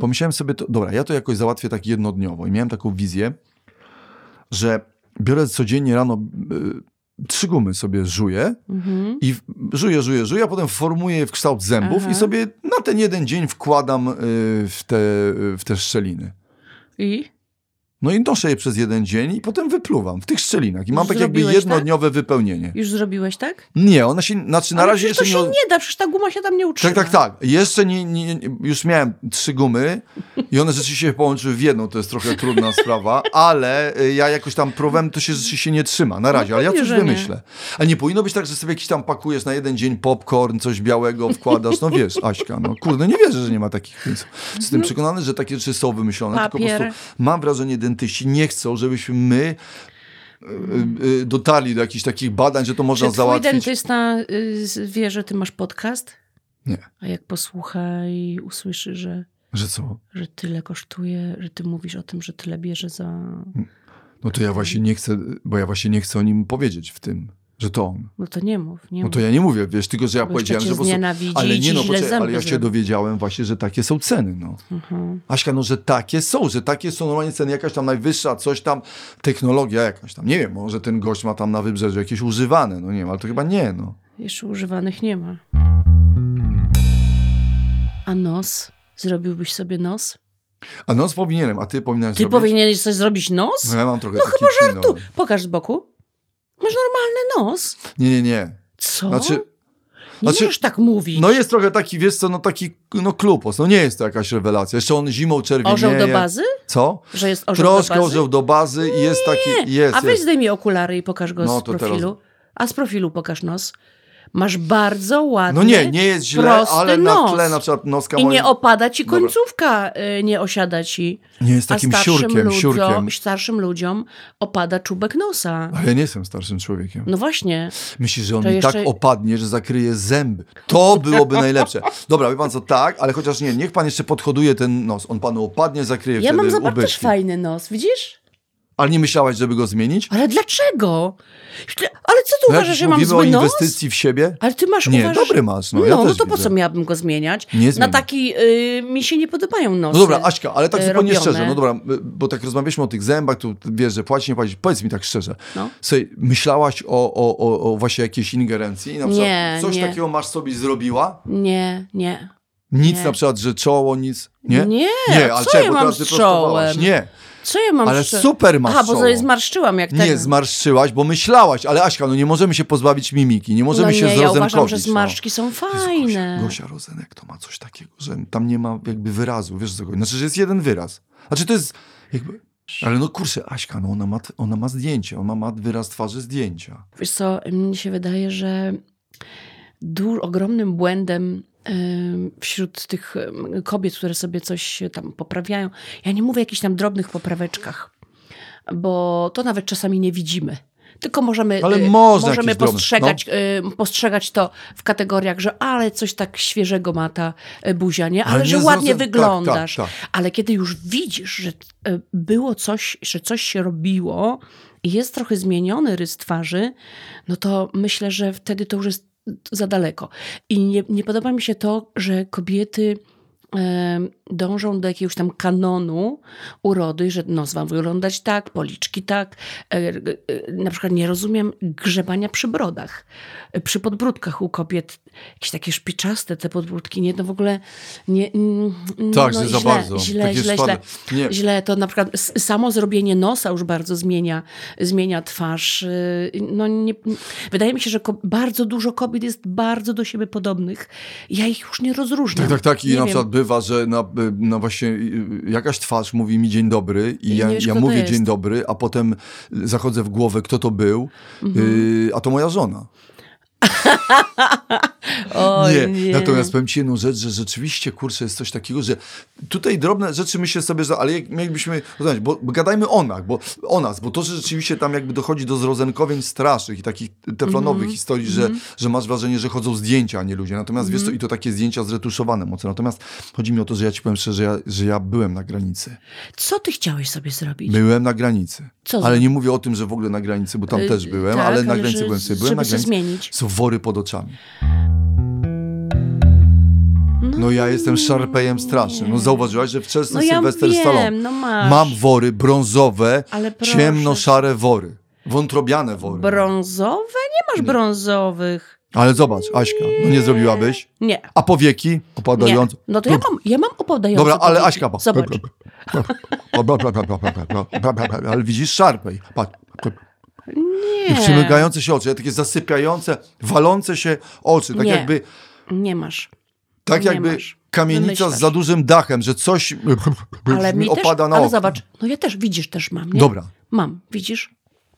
[SPEAKER 2] Pomyślałem sobie, to, dobra, ja to jakoś załatwię tak jednodniowo. I miałem taką wizję, że biorę codziennie rano y, trzy gumy sobie żuję
[SPEAKER 1] Mhm.
[SPEAKER 2] i w- żuję, żuję, żuję, a potem formuję je w kształt zębów
[SPEAKER 1] Aha.
[SPEAKER 2] i sobie na ten jeden dzień wkładam y, w, te, y, w te szczeliny.
[SPEAKER 1] I?
[SPEAKER 2] No i noszę je przez jeden dzień i potem wypluwam w tych szczelinach. I mam tak jakby
[SPEAKER 1] Zrobiłeś tak?
[SPEAKER 2] jednodniowe wypełnienie.
[SPEAKER 1] Już zrobiłeś tak?
[SPEAKER 2] Nie, ona się, znaczy na
[SPEAKER 1] ale
[SPEAKER 2] razie
[SPEAKER 1] przecież to
[SPEAKER 2] jeszcze
[SPEAKER 1] się
[SPEAKER 2] nie...
[SPEAKER 1] nie... da, przecież ta guma się tam nie utrzyma.
[SPEAKER 2] Tak, tak, tak. Jeszcze nie, nie, nie- już miałem trzy gumy i one rzeczywiście się połączyły w jedną, to jest trochę trudna sprawa, ale y, ja jakoś tam próbowałem, to się rzeczywiście nie trzyma na razie, ale ja
[SPEAKER 1] No pewnie,
[SPEAKER 2] coś
[SPEAKER 1] że nie.
[SPEAKER 2] wymyślę. Ale nie powinno być tak, że sobie jakiś tam pakujesz na jeden dzień popcorn, coś białego wkładasz, no wiesz, Aśka, no kurde, nie wierzę, że nie ma takich więc Jestem przekonany, że takie rzeczy są wymyślone, tylko po
[SPEAKER 1] No. Papier.
[SPEAKER 2] prostu mam wrażenie, dentyści nie chcą, żebyśmy my y, y, dotarli do jakichś takich badań, że to
[SPEAKER 1] Czy
[SPEAKER 2] można
[SPEAKER 1] twój
[SPEAKER 2] załatwić.
[SPEAKER 1] dentysta y, z- wie, że ty masz podcast?
[SPEAKER 2] Nie.
[SPEAKER 1] A jak posłucha i usłyszy, że,
[SPEAKER 2] Że co?
[SPEAKER 1] że tyle kosztuje, że ty mówisz o tym, że tyle bierze za...
[SPEAKER 2] No to ja właśnie nie chcę, bo ja właśnie nie chcę o nim powiedzieć w tym, że to on.
[SPEAKER 1] No to nie mów, nie
[SPEAKER 2] No
[SPEAKER 1] mów.
[SPEAKER 2] to ja nie mówię, wiesz, tylko że ja
[SPEAKER 1] Bo
[SPEAKER 2] powiedziałem,
[SPEAKER 1] jeszcze
[SPEAKER 2] że
[SPEAKER 1] cię
[SPEAKER 2] po prostu...
[SPEAKER 1] znienawidzi
[SPEAKER 2] Ale
[SPEAKER 1] i
[SPEAKER 2] nie,
[SPEAKER 1] ci
[SPEAKER 2] no
[SPEAKER 1] źle
[SPEAKER 2] poczekaj, ale
[SPEAKER 1] zęby
[SPEAKER 2] ja się
[SPEAKER 1] zrobi.
[SPEAKER 2] dowiedziałem właśnie, że takie są ceny, no.
[SPEAKER 1] Mhm.
[SPEAKER 2] Aśka, no że takie są, że takie są normalnie ceny, jakaś tam najwyższa, coś tam, technologia jakaś tam. Nie wiem, może ten gość ma tam na wybrzeżu jakieś używane, no nie wiem, ale to chyba nie, no.
[SPEAKER 1] Jeszcze używanych nie ma. A nos? Zrobiłbyś sobie nos?
[SPEAKER 2] A nos powinienem, a ty powinnaś
[SPEAKER 1] Ty
[SPEAKER 2] zrobić?
[SPEAKER 1] powinieneś coś zrobić nos?
[SPEAKER 2] No ja mam trochę no, taki chyba
[SPEAKER 1] Tu, pokaż z boku. Masz normalny nos.
[SPEAKER 2] Nie, nie, nie.
[SPEAKER 1] Co?
[SPEAKER 2] Znaczy,
[SPEAKER 1] nie
[SPEAKER 2] znaczy-
[SPEAKER 1] możesz tak mówić.
[SPEAKER 2] no jest trochę taki, wiesz co, no taki, no klupos, no nie jest to jakaś rewelacja. Jeszcze on zimą czerwienieje.
[SPEAKER 1] orzeł do bazy?
[SPEAKER 2] Co?
[SPEAKER 1] Że jest orzeł
[SPEAKER 2] Troszkę
[SPEAKER 1] do bazy?
[SPEAKER 2] orzeł do bazy i jest taki. Jest, No
[SPEAKER 1] A weź
[SPEAKER 2] jest.
[SPEAKER 1] zdejmij okulary i pokaż go
[SPEAKER 2] No,
[SPEAKER 1] z
[SPEAKER 2] to teraz-
[SPEAKER 1] profilu. A z profilu pokaż nos. Masz bardzo ładny
[SPEAKER 2] No nie, nie jest źle,
[SPEAKER 1] prosty
[SPEAKER 2] ale na
[SPEAKER 1] nos.
[SPEAKER 2] tle na przykład noska
[SPEAKER 1] I
[SPEAKER 2] moim...
[SPEAKER 1] nie opada ci
[SPEAKER 2] Dobra.
[SPEAKER 1] końcówka, y, nie osiada ci.
[SPEAKER 2] nie jest
[SPEAKER 1] A
[SPEAKER 2] takim
[SPEAKER 1] starszym
[SPEAKER 2] siurkiem,
[SPEAKER 1] ludziom,
[SPEAKER 2] siurkiem.
[SPEAKER 1] starszym ludziom opada czubek nosa.
[SPEAKER 2] Ale ja nie jestem starszym człowiekiem.
[SPEAKER 1] No właśnie.
[SPEAKER 2] Myślisz, że on
[SPEAKER 1] To
[SPEAKER 2] mi
[SPEAKER 1] jeszcze-
[SPEAKER 2] tak opadnie, że zakryje zęby. To byłoby najlepsze. Dobra, wie pan co, tak, ale chociaż nie, niech pan jeszcze podhoduje ten nos. On panu opadnie, zakryje
[SPEAKER 1] Ja
[SPEAKER 2] wtedy
[SPEAKER 1] mam zobacz, też
[SPEAKER 2] ubytki.
[SPEAKER 1] fajny nos, widzisz?
[SPEAKER 2] Ale nie myślałaś, żeby go zmienić?
[SPEAKER 1] Ale dlaczego? Ale co ty
[SPEAKER 2] No jak
[SPEAKER 1] uważasz,
[SPEAKER 2] już
[SPEAKER 1] że mam
[SPEAKER 2] mówimy o
[SPEAKER 1] zły nos?
[SPEAKER 2] inwestycji w siebie?
[SPEAKER 1] Ale ty masz,
[SPEAKER 2] Nie,
[SPEAKER 1] uważasz...
[SPEAKER 2] dobry masz, no,
[SPEAKER 1] no,
[SPEAKER 2] ja
[SPEAKER 1] no
[SPEAKER 2] też
[SPEAKER 1] to po
[SPEAKER 2] widzę.
[SPEAKER 1] co miałabym go zmieniać?
[SPEAKER 2] Nie
[SPEAKER 1] Na
[SPEAKER 2] zmieniam.
[SPEAKER 1] taki, y, mi się nie podobają nosy.
[SPEAKER 2] No dobra, Aśka, ale tak
[SPEAKER 1] e,
[SPEAKER 2] zupełnie
[SPEAKER 1] robione.
[SPEAKER 2] szczerze, no dobra, y, bo tak rozmawialiśmy o tych zębach, tu wiesz, że płaci, nie płaci. Powiedz mi tak szczerze,
[SPEAKER 1] No.
[SPEAKER 2] Słuchaj, myślałaś o, o, o, o właśnie jakiejś ingerencji? Na przykład
[SPEAKER 1] Nie,
[SPEAKER 2] coś
[SPEAKER 1] nie.
[SPEAKER 2] takiego masz sobie zrobiła?
[SPEAKER 1] Nie, nie.
[SPEAKER 2] Nic
[SPEAKER 1] Nie.
[SPEAKER 2] na przykład, że czoło, nic? Nie?
[SPEAKER 1] Nie, a
[SPEAKER 2] ale
[SPEAKER 1] co
[SPEAKER 2] czekaj,
[SPEAKER 1] ja
[SPEAKER 2] bo
[SPEAKER 1] mam
[SPEAKER 2] teraz
[SPEAKER 1] z
[SPEAKER 2] wyprostowałaś.
[SPEAKER 1] czołem?
[SPEAKER 2] Nie,
[SPEAKER 1] Co ja mam
[SPEAKER 2] ale
[SPEAKER 1] przy-
[SPEAKER 2] super masz
[SPEAKER 1] Aha, bo
[SPEAKER 2] czoło.
[SPEAKER 1] sobie zmarszczyłam jak
[SPEAKER 2] Nie,
[SPEAKER 1] ten.
[SPEAKER 2] zmarszczyłaś, bo myślałaś, ale Aśka, no nie możemy się pozbawić mimiki, nie możemy
[SPEAKER 1] no
[SPEAKER 2] się
[SPEAKER 1] nie, ja
[SPEAKER 2] zrozemkowić.
[SPEAKER 1] uważam, że
[SPEAKER 2] no.
[SPEAKER 1] zmarszczki są
[SPEAKER 2] Jezu,
[SPEAKER 1] fajne.
[SPEAKER 2] Gosia, Gosia Rozenek to ma coś takiego, że tam nie ma jakby wyrazu, wiesz co? Znaczy, że jest jeden wyraz. Znaczy to jest jakby... Ale no kurczę, Aśka, no ona ma, ona ma zdjęcie, ona ma wyraz twarzy zdjęcia.
[SPEAKER 1] Wiesz co, mnie się wydaje, że du- ogromnym błędem em, wśród tych em, kobiet, które sobie coś tam poprawiają, ja nie mówię o jakichś tam drobnych popraweczkach, bo to nawet czasami nie widzimy. Tylko możemy,
[SPEAKER 2] Ale
[SPEAKER 1] e,
[SPEAKER 2] można
[SPEAKER 1] możemy
[SPEAKER 2] jakieś drobne,
[SPEAKER 1] postrzegać,
[SPEAKER 2] no.
[SPEAKER 1] e, postrzegać to w kategoriach, że ale coś tak świeżego ma ta e, buzia, nie? Ale,
[SPEAKER 2] Ale
[SPEAKER 1] że
[SPEAKER 2] nie
[SPEAKER 1] ładnie
[SPEAKER 2] zrozum- tak,
[SPEAKER 1] wyglądasz.
[SPEAKER 2] tak, tak.
[SPEAKER 1] Ale kiedy już widzisz, że e, było coś, że coś się robiło i jest trochę zmieniony rys twarzy, no to myślę, że wtedy to już jest za daleko. I nie, nie podoba mi się to, że kobiety e, dążą do jakiegoś tam kanonu urody, że nos ma wyglądać tak, policzki tak. E, e, Na przykład nie rozumiem grzebania przy brodach, e, przy podbródkach u kobiet. Jakieś takie szpiczaste te podbródki, nie? No w ogóle nie... mm,
[SPEAKER 2] Tak,
[SPEAKER 1] no,
[SPEAKER 2] że
[SPEAKER 1] źle,
[SPEAKER 2] za bardzo.
[SPEAKER 1] Źle,
[SPEAKER 2] Takie
[SPEAKER 1] źle, źle.
[SPEAKER 2] szpady. Nie,
[SPEAKER 1] Źle to na przykład s- samo zrobienie nosa już bardzo zmienia, zmienia twarz. Yy, No nie, wydaje mi się, że ko- bardzo dużo kobiet jest bardzo do siebie podobnych. Ja ich już nie rozróżniam.
[SPEAKER 2] Tak, tak, tak. I
[SPEAKER 1] nie
[SPEAKER 2] na
[SPEAKER 1] wiem.
[SPEAKER 2] przykład bywa, że na, na właśnie y, jakaś twarz mówi mi dzień dobry
[SPEAKER 1] I
[SPEAKER 2] i ja,
[SPEAKER 1] nie wiesz,
[SPEAKER 2] ja
[SPEAKER 1] kto to
[SPEAKER 2] mówię
[SPEAKER 1] jest.
[SPEAKER 2] dzień dobry, a potem zachodzę w głowę, kto to był,
[SPEAKER 1] Mhm.
[SPEAKER 2] y, a to moja żona.
[SPEAKER 1] O,
[SPEAKER 2] nie. Natomiast powiem ci jedną rzecz, że rzeczywiście, kurczę, jest coś takiego, że tutaj drobne rzeczy myślę sobie, że ale jak mielibyśmy, rozumieć, bo, bo gadajmy o nas, bo, o nas, bo to, że rzeczywiście tam jakby dochodzi do zrozenkowień strasznych i takich teflonowych
[SPEAKER 1] Mhm.
[SPEAKER 2] historii, że, że masz wrażenie, że chodzą zdjęcia, a nie ludzie. Natomiast wiesz
[SPEAKER 1] Mhm.
[SPEAKER 2] co, i to takie zdjęcia zretuszowane mocno. Natomiast chodzi mi o to, że ja ci powiem szczerze, że ja, że ja byłem na granicy.
[SPEAKER 1] Co ty chciałeś sobie zrobić?
[SPEAKER 2] Byłem na granicy.
[SPEAKER 1] Co
[SPEAKER 2] ale
[SPEAKER 1] za-
[SPEAKER 2] nie mówię o tym, że w ogóle na granicy, bo tam
[SPEAKER 1] Y,
[SPEAKER 2] też byłem,
[SPEAKER 1] tak,
[SPEAKER 2] ale na
[SPEAKER 1] ale
[SPEAKER 2] granicy
[SPEAKER 1] że-
[SPEAKER 2] byłem sobie.
[SPEAKER 1] żeby
[SPEAKER 2] Byłem na
[SPEAKER 1] się
[SPEAKER 2] granicy.
[SPEAKER 1] zmienić.
[SPEAKER 2] Są wory pod oczami. No ja jestem szarpejem strasznym. No zauważyłaś, że wczesny
[SPEAKER 1] No ja
[SPEAKER 2] Sylwester
[SPEAKER 1] wiem,
[SPEAKER 2] Stallone.
[SPEAKER 1] no masz.
[SPEAKER 2] Mam wory brązowe,
[SPEAKER 1] Ale proszę.
[SPEAKER 2] ciemno-szare wory. Wątrobiane wory.
[SPEAKER 1] Brązowe? Nie masz brązowych.
[SPEAKER 2] Ale zobacz, Aśka, no nie zrobiłabyś?
[SPEAKER 1] Nie.
[SPEAKER 2] A powieki
[SPEAKER 1] nie.
[SPEAKER 2] opadające.
[SPEAKER 1] No to ja mam, ja mam opadające.
[SPEAKER 2] Dobra, ale
[SPEAKER 1] powieki.
[SPEAKER 2] Aśka, pa.
[SPEAKER 1] Zobacz.
[SPEAKER 2] Ale widzisz, szarpej. Patrz. I
[SPEAKER 1] Nie,
[SPEAKER 2] przymykające się oczy, takie zasypiające, walące się oczy, tak
[SPEAKER 1] Nie.
[SPEAKER 2] jakby,
[SPEAKER 1] nie masz.
[SPEAKER 2] tak
[SPEAKER 1] Nie
[SPEAKER 2] jakby
[SPEAKER 1] masz.
[SPEAKER 2] kamienica
[SPEAKER 1] Wymyślasz.
[SPEAKER 2] z za dużym dachem, że coś
[SPEAKER 1] Ale mi też,
[SPEAKER 2] opada na
[SPEAKER 1] ale
[SPEAKER 2] okno.
[SPEAKER 1] zobacz, no ja też, widzisz, też mam, nie?
[SPEAKER 2] Dobra.
[SPEAKER 1] Mam, widzisz?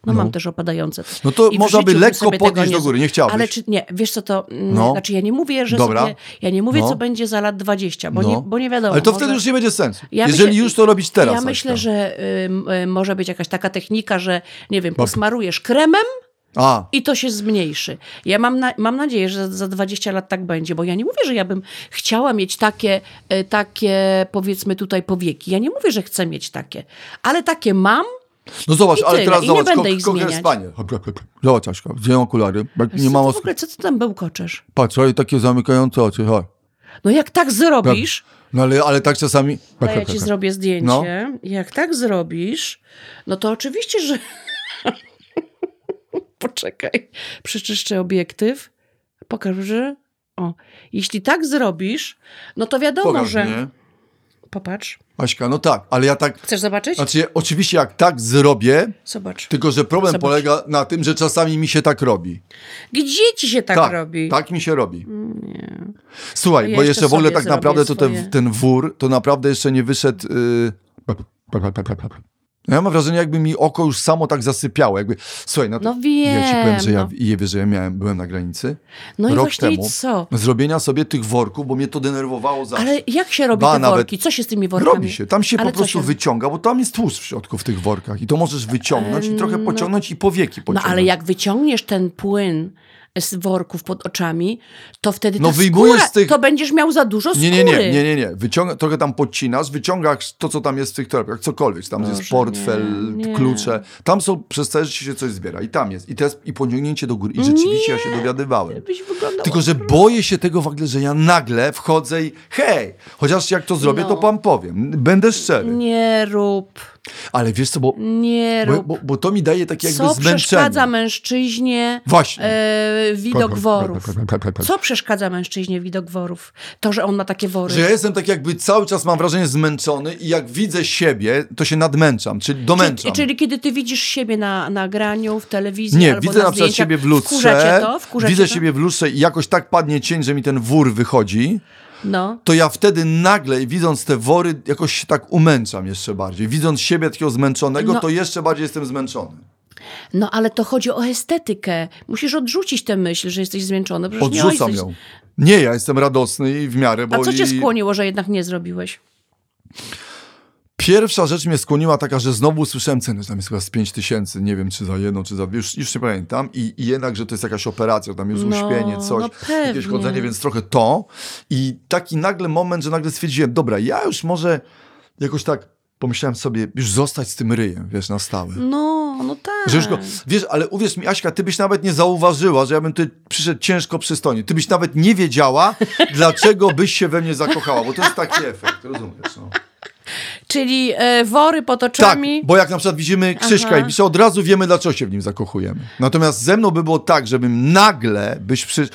[SPEAKER 1] No, mam też opadające.
[SPEAKER 2] No to
[SPEAKER 1] w
[SPEAKER 2] można by
[SPEAKER 1] życiu bym
[SPEAKER 2] lekko
[SPEAKER 1] sobie
[SPEAKER 2] podnieść
[SPEAKER 1] tego
[SPEAKER 2] do góry, nie chciałabyś.
[SPEAKER 1] Ale czy, nie, wiesz co to, mm,
[SPEAKER 2] No.
[SPEAKER 1] znaczy ja nie mówię, że
[SPEAKER 2] Dobra.
[SPEAKER 1] sobie, ja nie mówię,
[SPEAKER 2] No.
[SPEAKER 1] co będzie za lat 20, bo,
[SPEAKER 2] No.
[SPEAKER 1] nie, bo nie wiadomo.
[SPEAKER 2] Ale to
[SPEAKER 1] może-
[SPEAKER 2] wtedy już nie będzie sensu.
[SPEAKER 1] Ja
[SPEAKER 2] Jeżeli
[SPEAKER 1] myślę-
[SPEAKER 2] już to robić teraz.
[SPEAKER 1] Ja
[SPEAKER 2] Aśka.
[SPEAKER 1] myślę, że ym, y, może być jakaś taka technika, że nie wiem, posmarujesz kremem
[SPEAKER 2] A,
[SPEAKER 1] i to się zmniejszy. Ja mam, na, mam nadzieję, że za, za 20 lat tak będzie, bo ja nie mówię, że ja bym chciała mieć takie, y, takie powiedzmy tutaj powieki. Ja nie mówię, że chcę mieć takie, ale takie mam.
[SPEAKER 2] no zobacz,
[SPEAKER 1] I
[SPEAKER 2] ale
[SPEAKER 1] tyle,
[SPEAKER 2] teraz
[SPEAKER 1] i nie
[SPEAKER 2] zobacz,
[SPEAKER 1] będę
[SPEAKER 2] ko-
[SPEAKER 1] ich
[SPEAKER 2] kokier
[SPEAKER 1] zmieniać.
[SPEAKER 2] spanie. Zobacz, Aśka, wziąłem okulary, jak
[SPEAKER 1] co
[SPEAKER 2] nie mam
[SPEAKER 1] ty w
[SPEAKER 2] os...
[SPEAKER 1] ogóle, co ty tam bełkoczesz?
[SPEAKER 2] Patrz, ale takie zamykające oczy, chodź.
[SPEAKER 1] No jak tak zrobisz,
[SPEAKER 2] No ale, ale tak czasami...
[SPEAKER 1] to ja ci zrobię zdjęcie.
[SPEAKER 2] No.
[SPEAKER 1] Jak tak zrobisz, no to oczywiście, że... Poczekaj, przeczyszczę obiektyw. Pokaż, że... O, jeśli tak zrobisz, no to wiadomo,
[SPEAKER 2] Pokaż,
[SPEAKER 1] że...
[SPEAKER 2] nie?
[SPEAKER 1] Popatrz.
[SPEAKER 2] Aśka, no tak, ale ja tak...
[SPEAKER 1] Chcesz zobaczyć?
[SPEAKER 2] Znaczy, ja- oczywiście jak tak zrobię,
[SPEAKER 1] Zobacz.
[SPEAKER 2] tylko że problem
[SPEAKER 1] Zobacz.
[SPEAKER 2] polega na tym, że czasami mi się tak robi.
[SPEAKER 1] Gdzie ci się tak, robi?
[SPEAKER 2] Tak mi się robi. Słuchaj,
[SPEAKER 1] To ja
[SPEAKER 2] bo
[SPEAKER 1] jeszcze
[SPEAKER 2] jeszcze w ogóle
[SPEAKER 1] sobie
[SPEAKER 2] tak
[SPEAKER 1] zrobię
[SPEAKER 2] naprawdę to
[SPEAKER 1] swoje.
[SPEAKER 2] ten, ten wór, to naprawdę jeszcze nie wyszedł... y, Ja mam wrażenie, jakby mi oko już samo tak zasypiało. Jakby... Słuchaj, no, to-
[SPEAKER 1] No wiem,
[SPEAKER 2] ja ci powiem, że ja,
[SPEAKER 1] no.
[SPEAKER 2] i wie, że ja miałem, byłem na granicy
[SPEAKER 1] No i
[SPEAKER 2] rok
[SPEAKER 1] właśnie i
[SPEAKER 2] temu.
[SPEAKER 1] co?
[SPEAKER 2] zrobienia sobie tych worków, bo mnie to denerwowało zawsze.
[SPEAKER 1] Ale jak się robi
[SPEAKER 2] Ba,
[SPEAKER 1] te
[SPEAKER 2] nawet-
[SPEAKER 1] worki? Co się z tymi workami?
[SPEAKER 2] Robi się, tam się
[SPEAKER 1] Ale
[SPEAKER 2] po
[SPEAKER 1] co
[SPEAKER 2] prostu
[SPEAKER 1] się-
[SPEAKER 2] wyciąga, bo tam jest tłuszcz w środku w tych workach i to możesz wyciągnąć i trochę pociągnąć i powieki
[SPEAKER 1] No
[SPEAKER 2] pociągnąć.
[SPEAKER 1] ale jak wyciągniesz ten płyn z worków pod oczami, to wtedy
[SPEAKER 2] No
[SPEAKER 1] ta
[SPEAKER 2] wyjmujesz
[SPEAKER 1] skóra,
[SPEAKER 2] z tych-
[SPEAKER 1] to będziesz miał za dużo skóry.
[SPEAKER 2] Nie, nie, nie, nie, nie, nie. Wyciąga, trochę tam podcinasz, wyciągasz to, co tam jest w tych torebkach, cokolwiek. Tam
[SPEAKER 1] Boże,
[SPEAKER 2] jest portfel,
[SPEAKER 1] nie, nie.
[SPEAKER 2] klucze. Tam są, przez całe życie się coś zbiera i tam jest. I, te, i pociągnięcie do góry. I rzeczywiście ja się dowiadywałem.
[SPEAKER 1] Byś wyglądał...
[SPEAKER 2] Tylko, że boję się tego w ogóle, że ja nagle wchodzę i hej, chociaż jak to zrobię,
[SPEAKER 1] No. Mm.
[SPEAKER 2] to pan powiem. Będę szczery.
[SPEAKER 1] Nie rób,
[SPEAKER 2] Ale wiesz co, bo,
[SPEAKER 1] nie
[SPEAKER 2] bo,
[SPEAKER 1] rób.
[SPEAKER 2] bo, bo to mi daje takie jakby
[SPEAKER 1] co przeszkadza
[SPEAKER 2] zmęczenie.
[SPEAKER 1] mężczyźnie
[SPEAKER 2] Właśnie.
[SPEAKER 1] e, widok worów? Co przeszkadza mężczyźnie widok worów? To, że on ma takie wory.
[SPEAKER 2] Że ja jestem tak jakby cały czas mam wrażenie zmęczony i jak widzę siebie, to się nadmęczam, czyli domęczam.
[SPEAKER 1] Czyli, czyli kiedy ty widzisz siebie na nagraniu, w telewizji
[SPEAKER 2] Nie,
[SPEAKER 1] albo
[SPEAKER 2] widzę
[SPEAKER 1] na
[SPEAKER 2] na przykład
[SPEAKER 1] zdjęciach,
[SPEAKER 2] siebie w
[SPEAKER 1] Wkurza cię
[SPEAKER 2] lustrze,
[SPEAKER 1] to? Wkurza
[SPEAKER 2] widzę
[SPEAKER 1] cię to?
[SPEAKER 2] siebie w lustrze i jakoś tak padnie cień, że mi ten wór wychodzi,
[SPEAKER 1] No.
[SPEAKER 2] to ja wtedy nagle, widząc te wory, jakoś się tak umęczam jeszcze bardziej. Widząc siebie takiego zmęczonego,
[SPEAKER 1] No.
[SPEAKER 2] to jeszcze bardziej jestem zmęczony.
[SPEAKER 1] no, ale to chodzi o estetykę. Musisz odrzucić tę myśl, że jesteś zmęczony. Przecież nie
[SPEAKER 2] Odrzucam
[SPEAKER 1] jesteś-
[SPEAKER 2] ją. Nie, ja jestem radosny i w miarę, bo
[SPEAKER 1] A co cię
[SPEAKER 2] i...
[SPEAKER 1] skłoniło, że jednak nie zrobiłeś?
[SPEAKER 2] Pierwsza rzecz mnie skłoniła taka, że znowu usłyszałem cenę, że tam jest chyba z 5 tysięcy, nie wiem czy za jedno, czy za dwie, już, już nie pamiętam. I, I jednak, że to jest jakaś operacja, tam jest
[SPEAKER 1] No,
[SPEAKER 2] uśpienie, coś,
[SPEAKER 1] no pewnie.
[SPEAKER 2] jakieś chodzenie, więc trochę to. I taki nagle moment, że nagle stwierdziłem, dobra, ja już może jakoś tak pomyślałem sobie, już zostać z tym ryjem, wiesz, na stałe.
[SPEAKER 1] No, no tak.
[SPEAKER 2] Że już go, wiesz, ale uwierz mi, Aśka, ty byś nawet nie zauważyła, że ja bym tutaj przyszedł ciężko przystojnie. Ty byś nawet nie wiedziała, dlaczego byś się we mnie zakochała, bo to jest taki efekt, rozumiesz, no.
[SPEAKER 1] Czyli e, wory
[SPEAKER 2] Tak,
[SPEAKER 1] potoczami.
[SPEAKER 2] bo jak na przykład widzimy Krzyśka
[SPEAKER 1] Aha.
[SPEAKER 2] i Bisza, od razu wiemy, dlaczego się w nim zakochujemy. Natomiast ze mną by było tak, żebym nagle byś przy...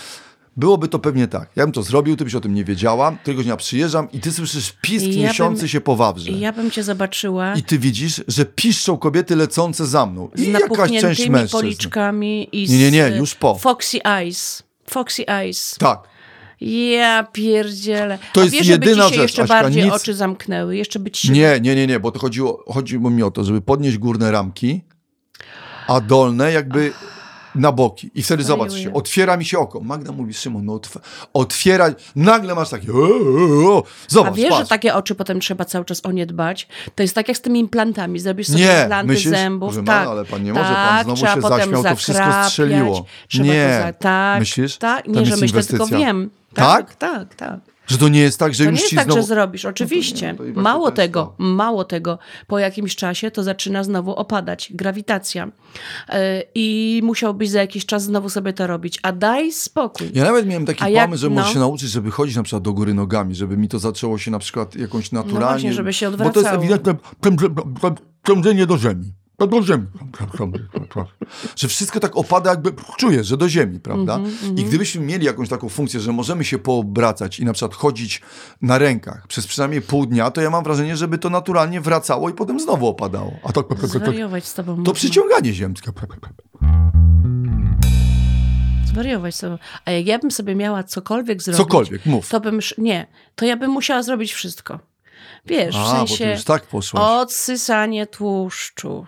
[SPEAKER 2] Byłoby to pewnie tak. Ja bym to zrobił, ty byś o tym nie wiedziała, któregoś dnia przyjeżdżam i ty słyszysz pisk
[SPEAKER 1] Ja bym-
[SPEAKER 2] niesiący się po wawrze.
[SPEAKER 1] Ja bym cię zobaczyła
[SPEAKER 2] I ty widzisz, że piszczą kobiety lecące za mną.
[SPEAKER 1] z
[SPEAKER 2] I jakaś część
[SPEAKER 1] napuchniętymi
[SPEAKER 2] mężczyzn.
[SPEAKER 1] policzkami i z
[SPEAKER 2] Nie, nie, nie, już po.
[SPEAKER 1] Foxy Eyes. Foxy Eyes.
[SPEAKER 2] Tak.
[SPEAKER 1] Ja pierdzielę.
[SPEAKER 2] To
[SPEAKER 1] A
[SPEAKER 2] jest
[SPEAKER 1] wiesz, żeby ci
[SPEAKER 2] jedyna
[SPEAKER 1] się
[SPEAKER 2] rzecz,
[SPEAKER 1] jeszcze
[SPEAKER 2] Aśka,
[SPEAKER 1] bardziej
[SPEAKER 2] nic-
[SPEAKER 1] oczy zamknęły, jeszcze by ci się...
[SPEAKER 2] Nie, nie, nie, nie, bo to chodziło, chodziło mi o to, żeby podnieść górne ramki, a dolne jakby na boki. I wtedy zobacz
[SPEAKER 1] Ojeju.
[SPEAKER 2] się, otwiera mi się oko. Magda mówi, Szymon, no otw- otwiera, nagle masz takie, o, o, o.
[SPEAKER 1] A
[SPEAKER 2] zobacz,
[SPEAKER 1] wiesz, że tak-
[SPEAKER 2] patrz.
[SPEAKER 1] takie oczy potem trzeba cały czas o nie dbać? To jest tak jak z tymi implantami. Zrobisz sobie
[SPEAKER 2] Nie,
[SPEAKER 1] implanty
[SPEAKER 2] myślisz?
[SPEAKER 1] zębów.
[SPEAKER 2] Boże,
[SPEAKER 1] tak,
[SPEAKER 2] Mano, ale pan nie
[SPEAKER 1] tak,
[SPEAKER 2] może, pan znowu
[SPEAKER 1] trzeba
[SPEAKER 2] się
[SPEAKER 1] potem
[SPEAKER 2] zaśmiał, to wszystko
[SPEAKER 1] zakrapiać,
[SPEAKER 2] strzeliło.
[SPEAKER 1] Trzeba
[SPEAKER 2] Nie.
[SPEAKER 1] To za... tak,
[SPEAKER 2] Myślisz?
[SPEAKER 1] Tak,
[SPEAKER 2] Tam
[SPEAKER 1] nie, że
[SPEAKER 2] jest
[SPEAKER 1] myślę, tylko
[SPEAKER 2] inwestycja.
[SPEAKER 1] wiem.
[SPEAKER 2] Tak?
[SPEAKER 1] Tak, tak.
[SPEAKER 2] Że to nie jest tak, że
[SPEAKER 1] To
[SPEAKER 2] już
[SPEAKER 1] nie jest
[SPEAKER 2] ci
[SPEAKER 1] tak,
[SPEAKER 2] znowu... No
[SPEAKER 1] że zrobisz, oczywiście.
[SPEAKER 2] to i właśnie
[SPEAKER 1] mało
[SPEAKER 2] to jest
[SPEAKER 1] tego,
[SPEAKER 2] to.
[SPEAKER 1] mało tego. Po jakimś czasie to zaczyna znowu opadać, grawitacja. Yy, I musiałbyś za jakiś czas znowu sobie to robić. A daj spokój.
[SPEAKER 2] Ja nawet miałem taki
[SPEAKER 1] A
[SPEAKER 2] pomysł,
[SPEAKER 1] jak-
[SPEAKER 2] że
[SPEAKER 1] no.
[SPEAKER 2] może się nauczyć, żeby chodzić na przykład do góry nogami, żeby mi to zaczęło się na przykład jakąś naturalnie.
[SPEAKER 1] właśnie, żeby się
[SPEAKER 2] Bo to jest
[SPEAKER 1] odwracało.
[SPEAKER 2] ewidentne pręże- prę- prężenie do ziemi. To Do ziemi. Że wszystko tak opada, jakby czujesz, że do ziemi, prawda?
[SPEAKER 1] Mhm,
[SPEAKER 2] I gdybyśmy mieli jakąś taką funkcję, że możemy się poobracać i na przykład chodzić na rękach przez przynajmniej pół dnia, to ja mam wrażenie, żeby to naturalnie wracało i potem znowu opadało. A tak,
[SPEAKER 1] Zwariować z tobą.
[SPEAKER 2] to
[SPEAKER 1] można.
[SPEAKER 2] przyciąganie ziemskie.
[SPEAKER 1] Zwariować sobie. A jak ja bym sobie miała cokolwiek zrobić.
[SPEAKER 2] Cokolwiek, mów.
[SPEAKER 1] To bym. sz- Nie, to ja bym musiała zrobić wszystko. Wiesz,
[SPEAKER 2] A,
[SPEAKER 1] w
[SPEAKER 2] bo
[SPEAKER 1] sensie.
[SPEAKER 2] ty już tak poszłaś.
[SPEAKER 1] Odsysanie tłuszczu.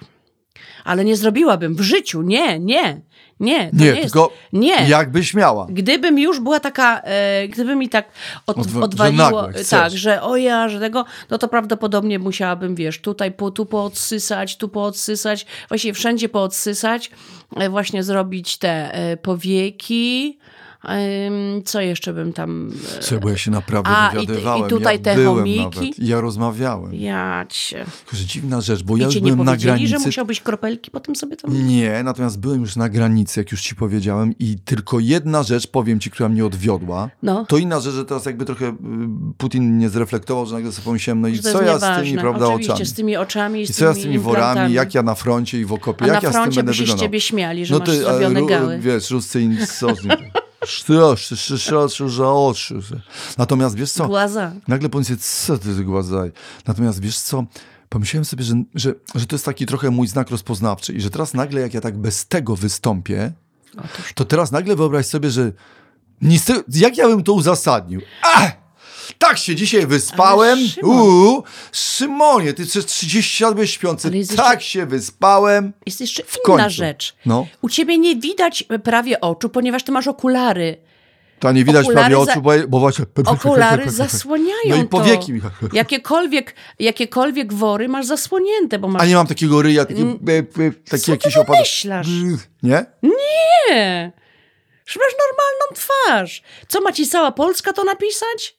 [SPEAKER 1] Ale nie zrobiłabym w życiu. Nie, nie, nie. To nie,
[SPEAKER 2] nie,
[SPEAKER 1] jest.
[SPEAKER 2] tylko
[SPEAKER 1] Nie.
[SPEAKER 2] jakbyś miała.
[SPEAKER 1] Gdybym już była taka, e, gdyby mi tak od,
[SPEAKER 2] Odwa- że
[SPEAKER 1] odwaliło,
[SPEAKER 2] nagłe, chcesz.
[SPEAKER 1] tak, że o ja, że tego, no to prawdopodobnie musiałabym, wiesz, tutaj po, tu poodsysać, tu poodsysać, właściwie wszędzie poodsysać, e, właśnie zrobić te e, powieki, Em, co jeszcze bym tam... E,
[SPEAKER 2] Co, bo ja się naprawdę
[SPEAKER 1] A, i ty- i
[SPEAKER 2] dowiadywałem.
[SPEAKER 1] tutaj
[SPEAKER 2] ja
[SPEAKER 1] te
[SPEAKER 2] byłem
[SPEAKER 1] chomiki?
[SPEAKER 2] Nawet. I Ja rozmawiałem.
[SPEAKER 1] ja cię...
[SPEAKER 2] Tylko, że dziwna rzecz, bo
[SPEAKER 1] e,
[SPEAKER 2] ja
[SPEAKER 1] I
[SPEAKER 2] już
[SPEAKER 1] cię nie
[SPEAKER 2] byłem na
[SPEAKER 1] powiedzieli,
[SPEAKER 2] granicy.
[SPEAKER 1] że musiałbyś kropelki potem sobie tam...
[SPEAKER 2] Nie, natomiast byłem już na granicy, jak już ci powiedziałem, i tylko jedna rzecz, powiem ci, która mnie odwiodła.
[SPEAKER 1] No.
[SPEAKER 2] To inna rzecz, że teraz jakby trochę y, Putin nie zreflektował, że nagle sobie pomyślałem, no i
[SPEAKER 1] że to
[SPEAKER 2] co
[SPEAKER 1] jest
[SPEAKER 2] ja z tymi,
[SPEAKER 1] nieważne.
[SPEAKER 2] prawda,
[SPEAKER 1] Oczywiście,
[SPEAKER 2] oczami?
[SPEAKER 1] z tymi oczami i z
[SPEAKER 2] I
[SPEAKER 1] tymi
[SPEAKER 2] co ja z tymi worami,
[SPEAKER 1] implantami.
[SPEAKER 2] jak ja na froncie i w okopie,
[SPEAKER 1] A
[SPEAKER 2] jak
[SPEAKER 1] na
[SPEAKER 2] ja z tym
[SPEAKER 1] froncie
[SPEAKER 2] będę
[SPEAKER 1] by się z
[SPEAKER 2] wyglądał? No
[SPEAKER 1] ciebie śmiali, że masz
[SPEAKER 2] ty, a,
[SPEAKER 1] zrobione
[SPEAKER 2] ru-
[SPEAKER 1] gały.
[SPEAKER 2] Wiesz, Ruscy i Sozni. Sztroszy, szyszoszy, za oczy. Natomiast wiesz co,
[SPEAKER 1] Głaza.
[SPEAKER 2] Nagle pomyślałem, co ty głazaj. Natomiast wiesz co, pomyślałem sobie, że, że, że to jest taki trochę mój znak rozpoznawczy i że teraz nagle jak ja tak bez tego wystąpię,
[SPEAKER 1] Otóż
[SPEAKER 2] to teraz nagle wyobraź sobie, że nic ty, jak ja bym to uzasadnił? Ach, tak się dzisiaj wyspałem.
[SPEAKER 1] Ale Szymon.
[SPEAKER 2] Uuu, Szymonie, ty przez 30 lat byłeś śpiący.
[SPEAKER 1] Ale jest
[SPEAKER 2] Tak się wyspałem.
[SPEAKER 1] Jest jeszcze inna
[SPEAKER 2] końcu.
[SPEAKER 1] rzecz.
[SPEAKER 2] No.
[SPEAKER 1] U ciebie nie widać prawie oczu, ponieważ ty masz okulary.
[SPEAKER 2] Tak, Ta nie widać
[SPEAKER 1] Okulary
[SPEAKER 2] prawie
[SPEAKER 1] za-
[SPEAKER 2] oczu, bo, bo właśnie...
[SPEAKER 1] Okulary zasłaniają
[SPEAKER 2] tak, No i powieki
[SPEAKER 1] to.
[SPEAKER 2] mi...
[SPEAKER 1] Jakiekolwiek, jakiekolwiek wory masz zasłonięte, bo masz...
[SPEAKER 2] A nie mam takiego ryja, taki, e, e, taki
[SPEAKER 1] Mm, Co ty
[SPEAKER 2] jakiś opadek.
[SPEAKER 1] wymyślasz?
[SPEAKER 2] Nie?
[SPEAKER 1] Nie! Że masz normalną twarz. Co ma ci cała Polska to napisać?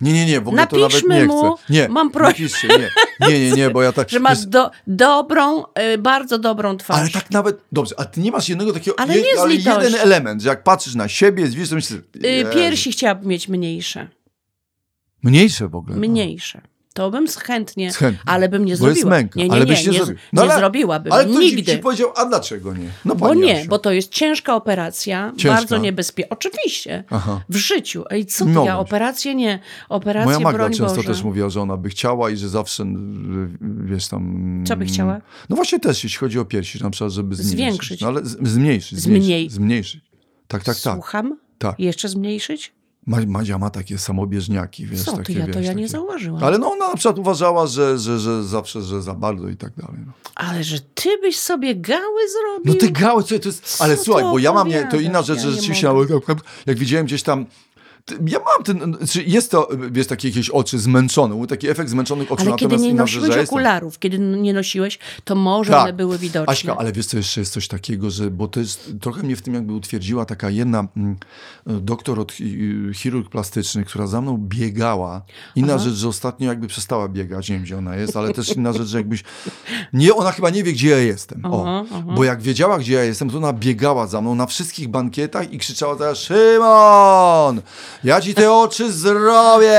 [SPEAKER 2] Nie, nie, nie, w ogóle to
[SPEAKER 1] Napiszmy
[SPEAKER 2] nawet nie
[SPEAKER 1] mu,
[SPEAKER 2] chcę. Nie,
[SPEAKER 1] mam prośbę.
[SPEAKER 2] napiszcie, nie. nie, nie, nie, bo ja tak...
[SPEAKER 1] Że masz
[SPEAKER 2] wiesz,
[SPEAKER 1] do, dobrą, y, bardzo dobrą twarz.
[SPEAKER 2] ale tak nawet, dobrze, a ty nie masz jednego takiego,
[SPEAKER 1] Ale nie z
[SPEAKER 2] ale
[SPEAKER 1] litości.
[SPEAKER 2] jeden element, że jak patrzysz na siebie, widzisz, to myślisz...
[SPEAKER 1] Y,
[SPEAKER 2] Jezu,
[SPEAKER 1] Piersi chciałabym mieć mniejsze.
[SPEAKER 2] Mniejsze w ogóle. no.
[SPEAKER 1] Mniejsze. To bym z- chętnie,
[SPEAKER 2] Z chętnie.
[SPEAKER 1] ale bym nie
[SPEAKER 2] Bo jest
[SPEAKER 1] zrobiła.
[SPEAKER 2] męka,
[SPEAKER 1] nie, nie,
[SPEAKER 2] ale
[SPEAKER 1] nie,
[SPEAKER 2] byś nie
[SPEAKER 1] nie,
[SPEAKER 2] zrobił. No
[SPEAKER 1] nie
[SPEAKER 2] ale-
[SPEAKER 1] zrobiłabym.
[SPEAKER 2] Ale ktoś
[SPEAKER 1] Nigdy.
[SPEAKER 2] ci powiedział, a dlaczego nie? No
[SPEAKER 1] Bo
[SPEAKER 2] pani
[SPEAKER 1] nie,
[SPEAKER 2] Asiu.
[SPEAKER 1] bo to jest ciężka operacja,
[SPEAKER 2] Ciężka.
[SPEAKER 1] bardzo niebezpieczna. Oczywiście.
[SPEAKER 2] Aha.
[SPEAKER 1] W życiu. Ej, co ty,
[SPEAKER 2] No
[SPEAKER 1] ja
[SPEAKER 2] właśnie.
[SPEAKER 1] operację nie, operację
[SPEAKER 2] Moja Magda
[SPEAKER 1] broń
[SPEAKER 2] często
[SPEAKER 1] Boże.
[SPEAKER 2] też mówiła, że ona by chciała i że zawsze, y, wiesz tam...
[SPEAKER 1] Co by chciała?
[SPEAKER 2] No właśnie też, jeśli chodzi o piersi, na przykład, żeby zmniejszyć.
[SPEAKER 1] Zwiększyć.
[SPEAKER 2] No ale z, zmniejszyć,
[SPEAKER 1] Zmniej-
[SPEAKER 2] zmniejszyć. Zmniejszyć. Tak, tak, tak.
[SPEAKER 1] Słucham?
[SPEAKER 2] tak.
[SPEAKER 1] Jeszcze zmniejszyć?
[SPEAKER 2] Ma, Madzia ma takie samobieżniaki, wiesz,
[SPEAKER 1] Co ty,
[SPEAKER 2] takie,
[SPEAKER 1] ja to
[SPEAKER 2] wiesz,
[SPEAKER 1] ja nie
[SPEAKER 2] takie-
[SPEAKER 1] zauważyłam. Ale...
[SPEAKER 2] Ale no ona na przykład uważała, że, że, że zawsze, że za bardzo i tak dalej. No,
[SPEAKER 1] że ty byś sobie gały zrobił?
[SPEAKER 2] no te gały, co to jest... Ale
[SPEAKER 1] Co
[SPEAKER 2] słuchaj,
[SPEAKER 1] to
[SPEAKER 2] bo ja mam, nie, to
[SPEAKER 1] opowiadasz?
[SPEAKER 2] inna rzecz,
[SPEAKER 1] Ja
[SPEAKER 2] że
[SPEAKER 1] nie
[SPEAKER 2] rzeczywiście, jak widziałem gdzieś tam Ty- Ja mam ten, czy jest to, wiesz, takie jakieś oczy zmęczone, był taki efekt zmęczonych oczu,
[SPEAKER 1] Ale kiedy
[SPEAKER 2] natomiast
[SPEAKER 1] nie
[SPEAKER 2] inna rzecz,
[SPEAKER 1] nosiłeś
[SPEAKER 2] że jestem-
[SPEAKER 1] okularów, kiedy n- nie nosiłeś, to może
[SPEAKER 2] Tak.
[SPEAKER 1] one były widoczne.
[SPEAKER 2] Aśka, ale wiesz co, jeszcze jest coś takiego, że, bo to jest, trochę mnie w tym jakby utwierdziła taka jedna mm, doktor od chi- y, chirurg plastyczny, która za mną biegała. Inna rzecz, że ostatnio jakby przestała biegać, nie wiem gdzie ona jest, ale też inna rzecz, że jakbyś, nie, ona chyba nie wie gdzie ja jestem. O,
[SPEAKER 1] Aha, aha.
[SPEAKER 2] bo jak wiedziała gdzie ja jestem, to ona biegała za mną na wszystkich bankietach i krzyczała teraz, Szymon, ja ci te oczy zrobię,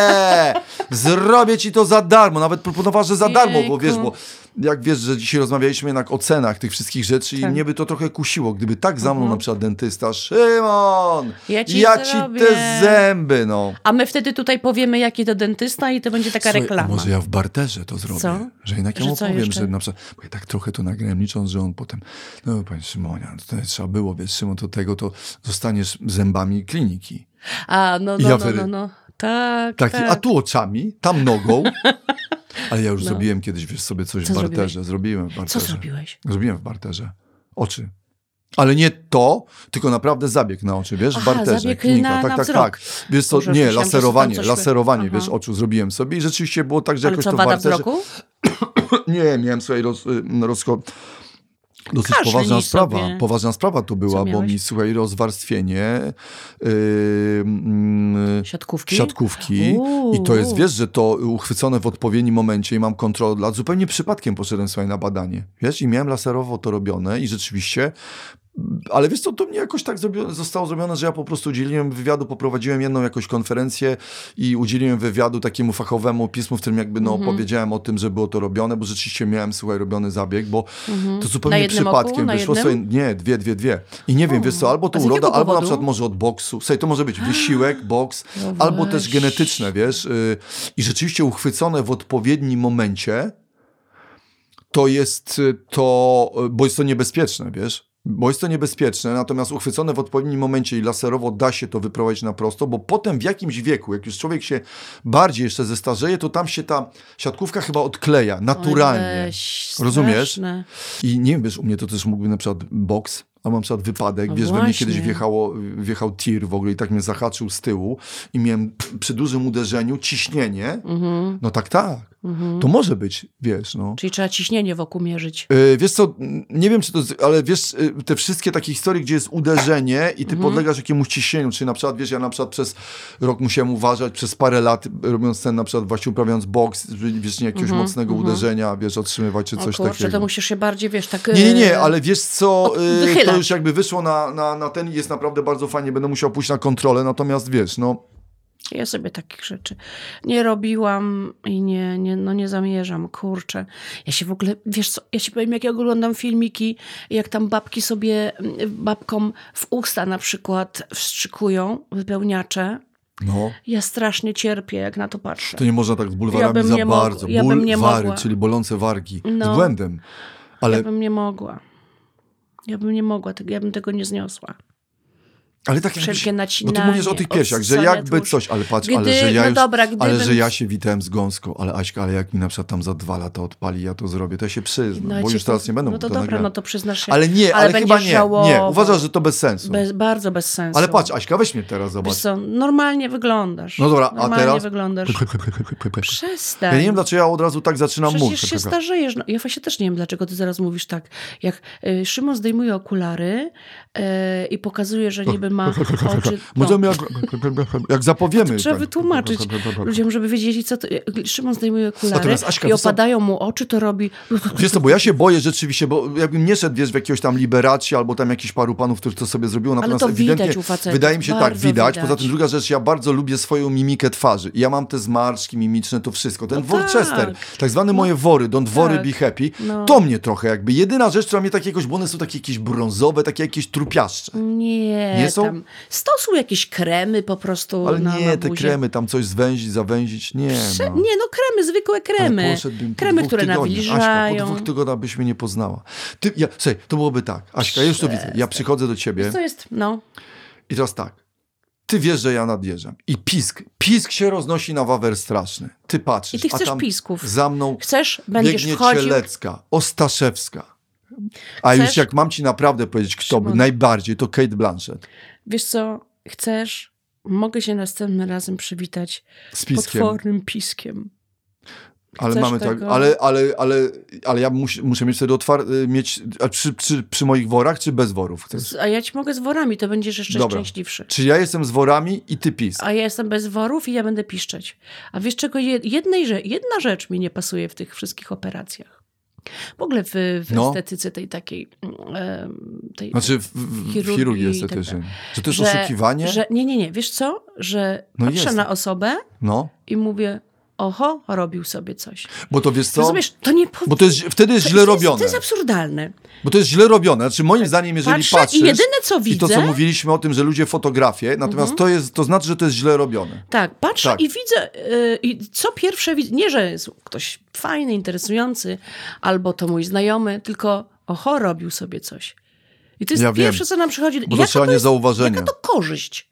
[SPEAKER 2] zrobię ci to za darmo, nawet proponowała, że za darmo, bo wiesz,
[SPEAKER 1] Jejku.
[SPEAKER 2] bo jak wiesz, że dzisiaj rozmawialiśmy jednak o cenach tych wszystkich rzeczy i
[SPEAKER 1] Tak. Mhm.
[SPEAKER 2] mnie by to trochę kusiło, gdyby tak za mną na przykład dentysta, Szymon,
[SPEAKER 1] Ja ci zrobię."
[SPEAKER 2] te zęby, no.
[SPEAKER 1] A my wtedy tutaj powiemy, jaki to dentysta i to będzie taka
[SPEAKER 2] Słuchaj,
[SPEAKER 1] reklama.
[SPEAKER 2] a Może ja w barterze to zrobię,
[SPEAKER 1] Co?
[SPEAKER 2] że jednak ja
[SPEAKER 1] Że
[SPEAKER 2] mu
[SPEAKER 1] co
[SPEAKER 2] powiem,
[SPEAKER 1] jeszcze?
[SPEAKER 2] że na przykład, bo ja tak trochę to nagrałem, licząc, że on potem, no panie Szymonia, to trzeba było, wiesz, Szymon, to tego, to zostaniesz zębami kliniki.
[SPEAKER 1] A, no,
[SPEAKER 2] I
[SPEAKER 1] no,
[SPEAKER 2] ja
[SPEAKER 1] no,
[SPEAKER 2] wtedy-
[SPEAKER 1] no, no. Tak,
[SPEAKER 2] Taki,
[SPEAKER 1] tak. No.
[SPEAKER 2] A tu oczami, tam nogą. Ale ja już zrobiłem kiedyś, wiesz, sobie coś
[SPEAKER 1] Co
[SPEAKER 2] w
[SPEAKER 1] zrobiłeś?
[SPEAKER 2] barterze. Zrobiłem w barterze.
[SPEAKER 1] Co zrobiłeś?
[SPEAKER 2] Zrobiłem w barterze. Oczy. Ale nie to, tylko naprawdę zabieg na oczy, wiesz, w
[SPEAKER 1] Aha,
[SPEAKER 2] barterze,
[SPEAKER 1] zabieg
[SPEAKER 2] klinika,
[SPEAKER 1] na-
[SPEAKER 2] tak,
[SPEAKER 1] na
[SPEAKER 2] tak,
[SPEAKER 1] wzrok.
[SPEAKER 2] tak. Wiesz co,
[SPEAKER 1] Boże,
[SPEAKER 2] nie,
[SPEAKER 1] myślałam, że to tam
[SPEAKER 2] laserowanie,
[SPEAKER 1] coś wy-
[SPEAKER 2] laserowanie,
[SPEAKER 1] Aha.
[SPEAKER 2] wiesz, oczu zrobiłem sobie i rzeczywiście było tak, że
[SPEAKER 1] Ale
[SPEAKER 2] jakoś
[SPEAKER 1] co,
[SPEAKER 2] to w
[SPEAKER 1] wada
[SPEAKER 2] barterze...
[SPEAKER 1] wzroku?
[SPEAKER 2] Nie, miałem słuchaj, roz, y, rozko... dosyć
[SPEAKER 1] Kaszlnij
[SPEAKER 2] poważna sprawa.
[SPEAKER 1] sobie.
[SPEAKER 2] Poważna sprawa to była, bo
[SPEAKER 1] miałeś?
[SPEAKER 2] mi, słuchaj, rozwarstwienie... Yy, mm,
[SPEAKER 1] Siatkówki?
[SPEAKER 2] siatkówki
[SPEAKER 1] Uuu.
[SPEAKER 2] i to jest, wiesz, że to uchwycone w odpowiednim momencie i mam kontrolę od lat. Zupełnie przypadkiem poszedłem sobie na badanie, wiesz, i miałem laserowo to robione i rzeczywiście, ale wiesz co, to mnie jakoś tak zrobio, zostało zrobione, że ja po prostu udzieliłem wywiadu, poprowadziłem jedną jakąś konferencję i udzieliłem wywiadu takiemu fachowemu pismu, w którym jakby no
[SPEAKER 1] Mhm.
[SPEAKER 2] powiedziałem o tym, że było to robione, bo rzeczywiście miałem, słuchaj, robiony zabieg, bo to zupełnie
[SPEAKER 1] Mhm. Na jednym oku?
[SPEAKER 2] przypadkiem
[SPEAKER 1] Na
[SPEAKER 2] wyszło
[SPEAKER 1] jednym?
[SPEAKER 2] sobie, nie, dwie, dwie, dwie. I nie wiem, wiesz co, albo to
[SPEAKER 1] A z jakiego
[SPEAKER 2] uroda, albo na
[SPEAKER 1] powodu?
[SPEAKER 2] przykład może od boksu. Słuchaj, to może być wysiłek, boks,
[SPEAKER 1] No
[SPEAKER 2] albo też
[SPEAKER 1] właśnie.
[SPEAKER 2] genetyczne, wiesz. y, I rzeczywiście uchwycone w odpowiednim momencie to jest y, to, y, bo jest to niebezpieczne, wiesz. Bo jest to niebezpieczne, natomiast uchwycone w odpowiednim momencie i laserowo da się to wyprowadzić na prosto, bo potem w jakimś wieku, jak już człowiek się bardziej jeszcze zestarzeje, to tam się ta siatkówka chyba odkleja naturalnie.
[SPEAKER 1] Oj, weź,
[SPEAKER 2] Rozumiesz?
[SPEAKER 1] straszne.
[SPEAKER 2] I nie wiem, wiesz, u mnie to też mógłby na przykład boks, a mam na przykład wypadek,
[SPEAKER 1] No
[SPEAKER 2] wiesz, we mnie
[SPEAKER 1] właśnie.
[SPEAKER 2] kiedyś wjechało, wjechał tir w ogóle i tak mnie zahaczył z tyłu i miałem p- przy dużym uderzeniu ciśnienie.
[SPEAKER 1] Mhm,
[SPEAKER 2] No tak, tak.
[SPEAKER 1] mhm.
[SPEAKER 2] To może być, wiesz, no.
[SPEAKER 1] Czyli trzeba ciśnienie wokół mierzyć.
[SPEAKER 2] Yy, Wiesz co, m, nie wiem czy to, z- ale wiesz, yy, te wszystkie takie historie, gdzie jest uderzenie i ty
[SPEAKER 1] Mhm.
[SPEAKER 2] podlegasz jakiemuś ciśnieniu, czyli na przykład, wiesz, ja na przykład przez rok musiałem uważać, przez parę lat yy, robiąc ten, na przykład właśnie uprawiając boks, wiesz, nie, jakiegoś
[SPEAKER 1] Mhm,
[SPEAKER 2] mocnego uderzenia, wiesz, otrzymywać czy
[SPEAKER 1] O
[SPEAKER 2] coś
[SPEAKER 1] kurczę,
[SPEAKER 2] takiego.
[SPEAKER 1] to musisz się bardziej, wiesz, tak...
[SPEAKER 2] Nie, nie,
[SPEAKER 1] e,
[SPEAKER 2] nie, ale wiesz co, y, to
[SPEAKER 1] wychylać.
[SPEAKER 2] już jakby wyszło na, na, na ten i jest naprawdę bardzo fajnie, będę musiał pójść na kontrolę, natomiast wiesz, no,
[SPEAKER 1] Ja sobie takich rzeczy nie robiłam i nie, nie, no nie zamierzam, kurczę. Ja się w ogóle, wiesz co, ja ci powiem, jak ja oglądam filmiki, jak tam babki sobie, mm, babkom w usta na przykład wstrzykują wypełniacze.
[SPEAKER 2] no,
[SPEAKER 1] Ja strasznie cierpię, jak na to patrzę.
[SPEAKER 2] to nie można tak z
[SPEAKER 1] Ja
[SPEAKER 2] bulwarami
[SPEAKER 1] bym
[SPEAKER 2] za
[SPEAKER 1] nie mogła,
[SPEAKER 2] bardzo,
[SPEAKER 1] ja
[SPEAKER 2] ból
[SPEAKER 1] bym nie
[SPEAKER 2] wary,
[SPEAKER 1] mogła.
[SPEAKER 2] czyli bolące wargi,
[SPEAKER 1] No.
[SPEAKER 2] z błędem, ale,
[SPEAKER 1] Ja bym nie mogła. Ja bym nie mogła, tego- ja bym tego nie zniosła.
[SPEAKER 2] ale tak takie
[SPEAKER 1] Wszelkie
[SPEAKER 2] bo
[SPEAKER 1] nacinanie.
[SPEAKER 2] No ty mówisz o tych piesiach, że
[SPEAKER 1] odsysanie
[SPEAKER 2] jakby
[SPEAKER 1] tłuszczu.
[SPEAKER 2] coś, ale patrz,
[SPEAKER 1] Gdy-
[SPEAKER 2] ale że ja
[SPEAKER 1] no
[SPEAKER 2] już,
[SPEAKER 1] dobra, gdybym-
[SPEAKER 2] ale że ja się witałem z gąską, ale Aśka, ale jak mi na przykład tam za dwa lata odpali, ja to zrobię, to ja się przyznam,
[SPEAKER 1] ja
[SPEAKER 2] bo
[SPEAKER 1] ci
[SPEAKER 2] już
[SPEAKER 1] to-
[SPEAKER 2] teraz nie
[SPEAKER 1] No
[SPEAKER 2] będę mógł
[SPEAKER 1] to
[SPEAKER 2] to
[SPEAKER 1] dobra,
[SPEAKER 2] nagrać.
[SPEAKER 1] no to przyznasz się.
[SPEAKER 2] Ale nie, ale, chyba
[SPEAKER 1] będziesz
[SPEAKER 2] nie, nie,
[SPEAKER 1] żałował.
[SPEAKER 2] uważasz, że to bez sensu.
[SPEAKER 1] Bez, bardzo bez sensu.
[SPEAKER 2] Ale patrz, Aśka, weź mnie teraz,
[SPEAKER 1] Wiesz
[SPEAKER 2] zobacz.
[SPEAKER 1] co, normalnie wyglądasz.
[SPEAKER 2] No dobra, a
[SPEAKER 1] normalnie
[SPEAKER 2] teraz?
[SPEAKER 1] wyglądasz. Przestań.
[SPEAKER 2] Ja nie wiem, dlaczego ja od razu tak zaczynam
[SPEAKER 1] Przecież
[SPEAKER 2] mówić.
[SPEAKER 1] się starzejesz. No, ja właśnie też nie wiem, dlaczego ty zaraz mówisz tak. Jak y, Szymon zdejmuje okulary y, i pokazuje, że niby ma oczy... No,
[SPEAKER 2] Możemy jak, jak zapowiemy.
[SPEAKER 1] trzeba
[SPEAKER 2] tak.
[SPEAKER 1] wytłumaczyć ludziom, żeby wiedzieli, co to... y, Szymon zdejmuje okulary
[SPEAKER 2] Natomiast Aśka,
[SPEAKER 1] i
[SPEAKER 2] wiesz co?
[SPEAKER 1] opadają mu oczy, to robi...
[SPEAKER 2] Wiesz co, bo ja się boję rzeczywiście, bo jakbym nie szedł, wiesz, w jakiegoś tam liberacji albo tam jakichś paru panów, którzy to sobie zrobiło, natomiast
[SPEAKER 1] to widać
[SPEAKER 2] ewidentnie
[SPEAKER 1] u facetów,
[SPEAKER 2] wydaje mi się tak,
[SPEAKER 1] bardzo
[SPEAKER 2] widać.
[SPEAKER 1] widać.
[SPEAKER 2] Poza tym druga rzecz, ja bardzo lubię swoją mimikę twarzy. I Ja mam te zmarszki mimiczne, to wszystko. Ten
[SPEAKER 1] No
[SPEAKER 2] Worcester,
[SPEAKER 1] tak.
[SPEAKER 2] tak, zwane moje wory, don't worry,
[SPEAKER 1] tak.
[SPEAKER 2] be happy,
[SPEAKER 1] No.
[SPEAKER 2] to mnie trochę jakby, jedyna rzecz, która mnie tak jakoś, bo one są takie jakieś brązowe, takie jakieś trupiaszcze.
[SPEAKER 1] Nie,
[SPEAKER 2] Nie są?
[SPEAKER 1] tam... Stosuj jakieś kremy po prostu
[SPEAKER 2] Ale
[SPEAKER 1] na,
[SPEAKER 2] nie,
[SPEAKER 1] na
[SPEAKER 2] te
[SPEAKER 1] buzie.
[SPEAKER 2] kremy, tam coś zwęzić, zawęzić, nie.
[SPEAKER 1] Prze-
[SPEAKER 2] no.
[SPEAKER 1] Nie, no kremy, zwykłe
[SPEAKER 2] Ale
[SPEAKER 1] kremy.
[SPEAKER 2] poszedłbym po
[SPEAKER 1] Kremy,
[SPEAKER 2] dwóch
[SPEAKER 1] które
[SPEAKER 2] tygodniach. Aśka, po
[SPEAKER 1] nawilżają.
[SPEAKER 2] dwóch tygodniach byś mnie nie poznała. Ty, ja, słuchaj, to byłoby tak. Aśka, ja już to widzę. Ja przychodzę do ciebie
[SPEAKER 1] Co jest, no.
[SPEAKER 2] i teraz tak. Ty wiesz, że ja nadjeżdżam. I pisk. Pisk się roznosi na wawer straszny. Ty patrzysz.
[SPEAKER 1] I ty
[SPEAKER 2] a
[SPEAKER 1] chcesz
[SPEAKER 2] tam
[SPEAKER 1] pisków.
[SPEAKER 2] Za mną
[SPEAKER 1] Chcesz, będziesz
[SPEAKER 2] biegnie
[SPEAKER 1] wchodził.
[SPEAKER 2] Cielecka, Ostaszewska. A
[SPEAKER 1] Chcesz?
[SPEAKER 2] już jak mam ci naprawdę powiedzieć, kto by
[SPEAKER 1] Szymon.
[SPEAKER 2] najbardziej, to Kate Blanchett.
[SPEAKER 1] Wiesz co, chcesz, mogę się następnym razem przywitać
[SPEAKER 2] Z
[SPEAKER 1] piskiem.
[SPEAKER 2] piskiem.
[SPEAKER 1] potwornym piskiem.
[SPEAKER 2] Ale
[SPEAKER 1] Chcesz
[SPEAKER 2] mamy tak,
[SPEAKER 1] tego?
[SPEAKER 2] ale, ale, ale, ale ja mus, muszę mieć wtedy otwar... y, mieć, a przy, przy, przy moich worach, czy bez worów? Chcesz?
[SPEAKER 1] Z- A ja ci mogę z worami, to będziesz jeszcze
[SPEAKER 2] Dobra.
[SPEAKER 1] szczęśliwszy.
[SPEAKER 2] Czy ja jestem z worami i ty pis?
[SPEAKER 1] A ja jestem bez worów i ja będę piszczeć. A wiesz czego? Je- Jednej, rze- jedna rzecz mi nie pasuje w tych wszystkich operacjach. W ogóle w, w
[SPEAKER 2] No.
[SPEAKER 1] estetyce tej takiej... em, tej,
[SPEAKER 2] Znaczy w, w, w
[SPEAKER 1] Chirurgii
[SPEAKER 2] chirurgii
[SPEAKER 1] i tak
[SPEAKER 2] estetycznej. Czy to jest
[SPEAKER 1] że-
[SPEAKER 2] oszukiwanie?
[SPEAKER 1] Że, nie, nie, nie. Wiesz co? Że
[SPEAKER 2] No
[SPEAKER 1] patrzę
[SPEAKER 2] jest.
[SPEAKER 1] na osobę
[SPEAKER 2] No,
[SPEAKER 1] i mówię, oho, robił sobie coś.
[SPEAKER 2] bo to wiesz co?
[SPEAKER 1] Rozumiesz? To nie... Po...
[SPEAKER 2] Bo to jest, wtedy jest
[SPEAKER 1] to-
[SPEAKER 2] źle
[SPEAKER 1] to
[SPEAKER 2] robione.
[SPEAKER 1] To jest absurdalne.
[SPEAKER 2] Bo to jest źle robione. Znaczy moim zdaniem, jeżeli
[SPEAKER 1] Patrzę
[SPEAKER 2] patrzysz...
[SPEAKER 1] i jedyne co
[SPEAKER 2] I to,
[SPEAKER 1] widzę... Mhm.
[SPEAKER 2] co mówiliśmy o tym, że ludzie fotografie, natomiast to, jest, to znaczy, że to jest źle robione.
[SPEAKER 1] Tak, patrzę
[SPEAKER 2] Tak.
[SPEAKER 1] i widzę, y, i co pierwsze widzę, nie, że jest ktoś fajny, interesujący, albo to mój znajomy, tylko oho, robił sobie coś. I to jest
[SPEAKER 2] Ja wiem.
[SPEAKER 1] pierwsze, co nam przychodzi.
[SPEAKER 2] Bo to trzeba
[SPEAKER 1] to
[SPEAKER 2] nie
[SPEAKER 1] jest, jaka
[SPEAKER 2] zauważenia.
[SPEAKER 1] to korzyść?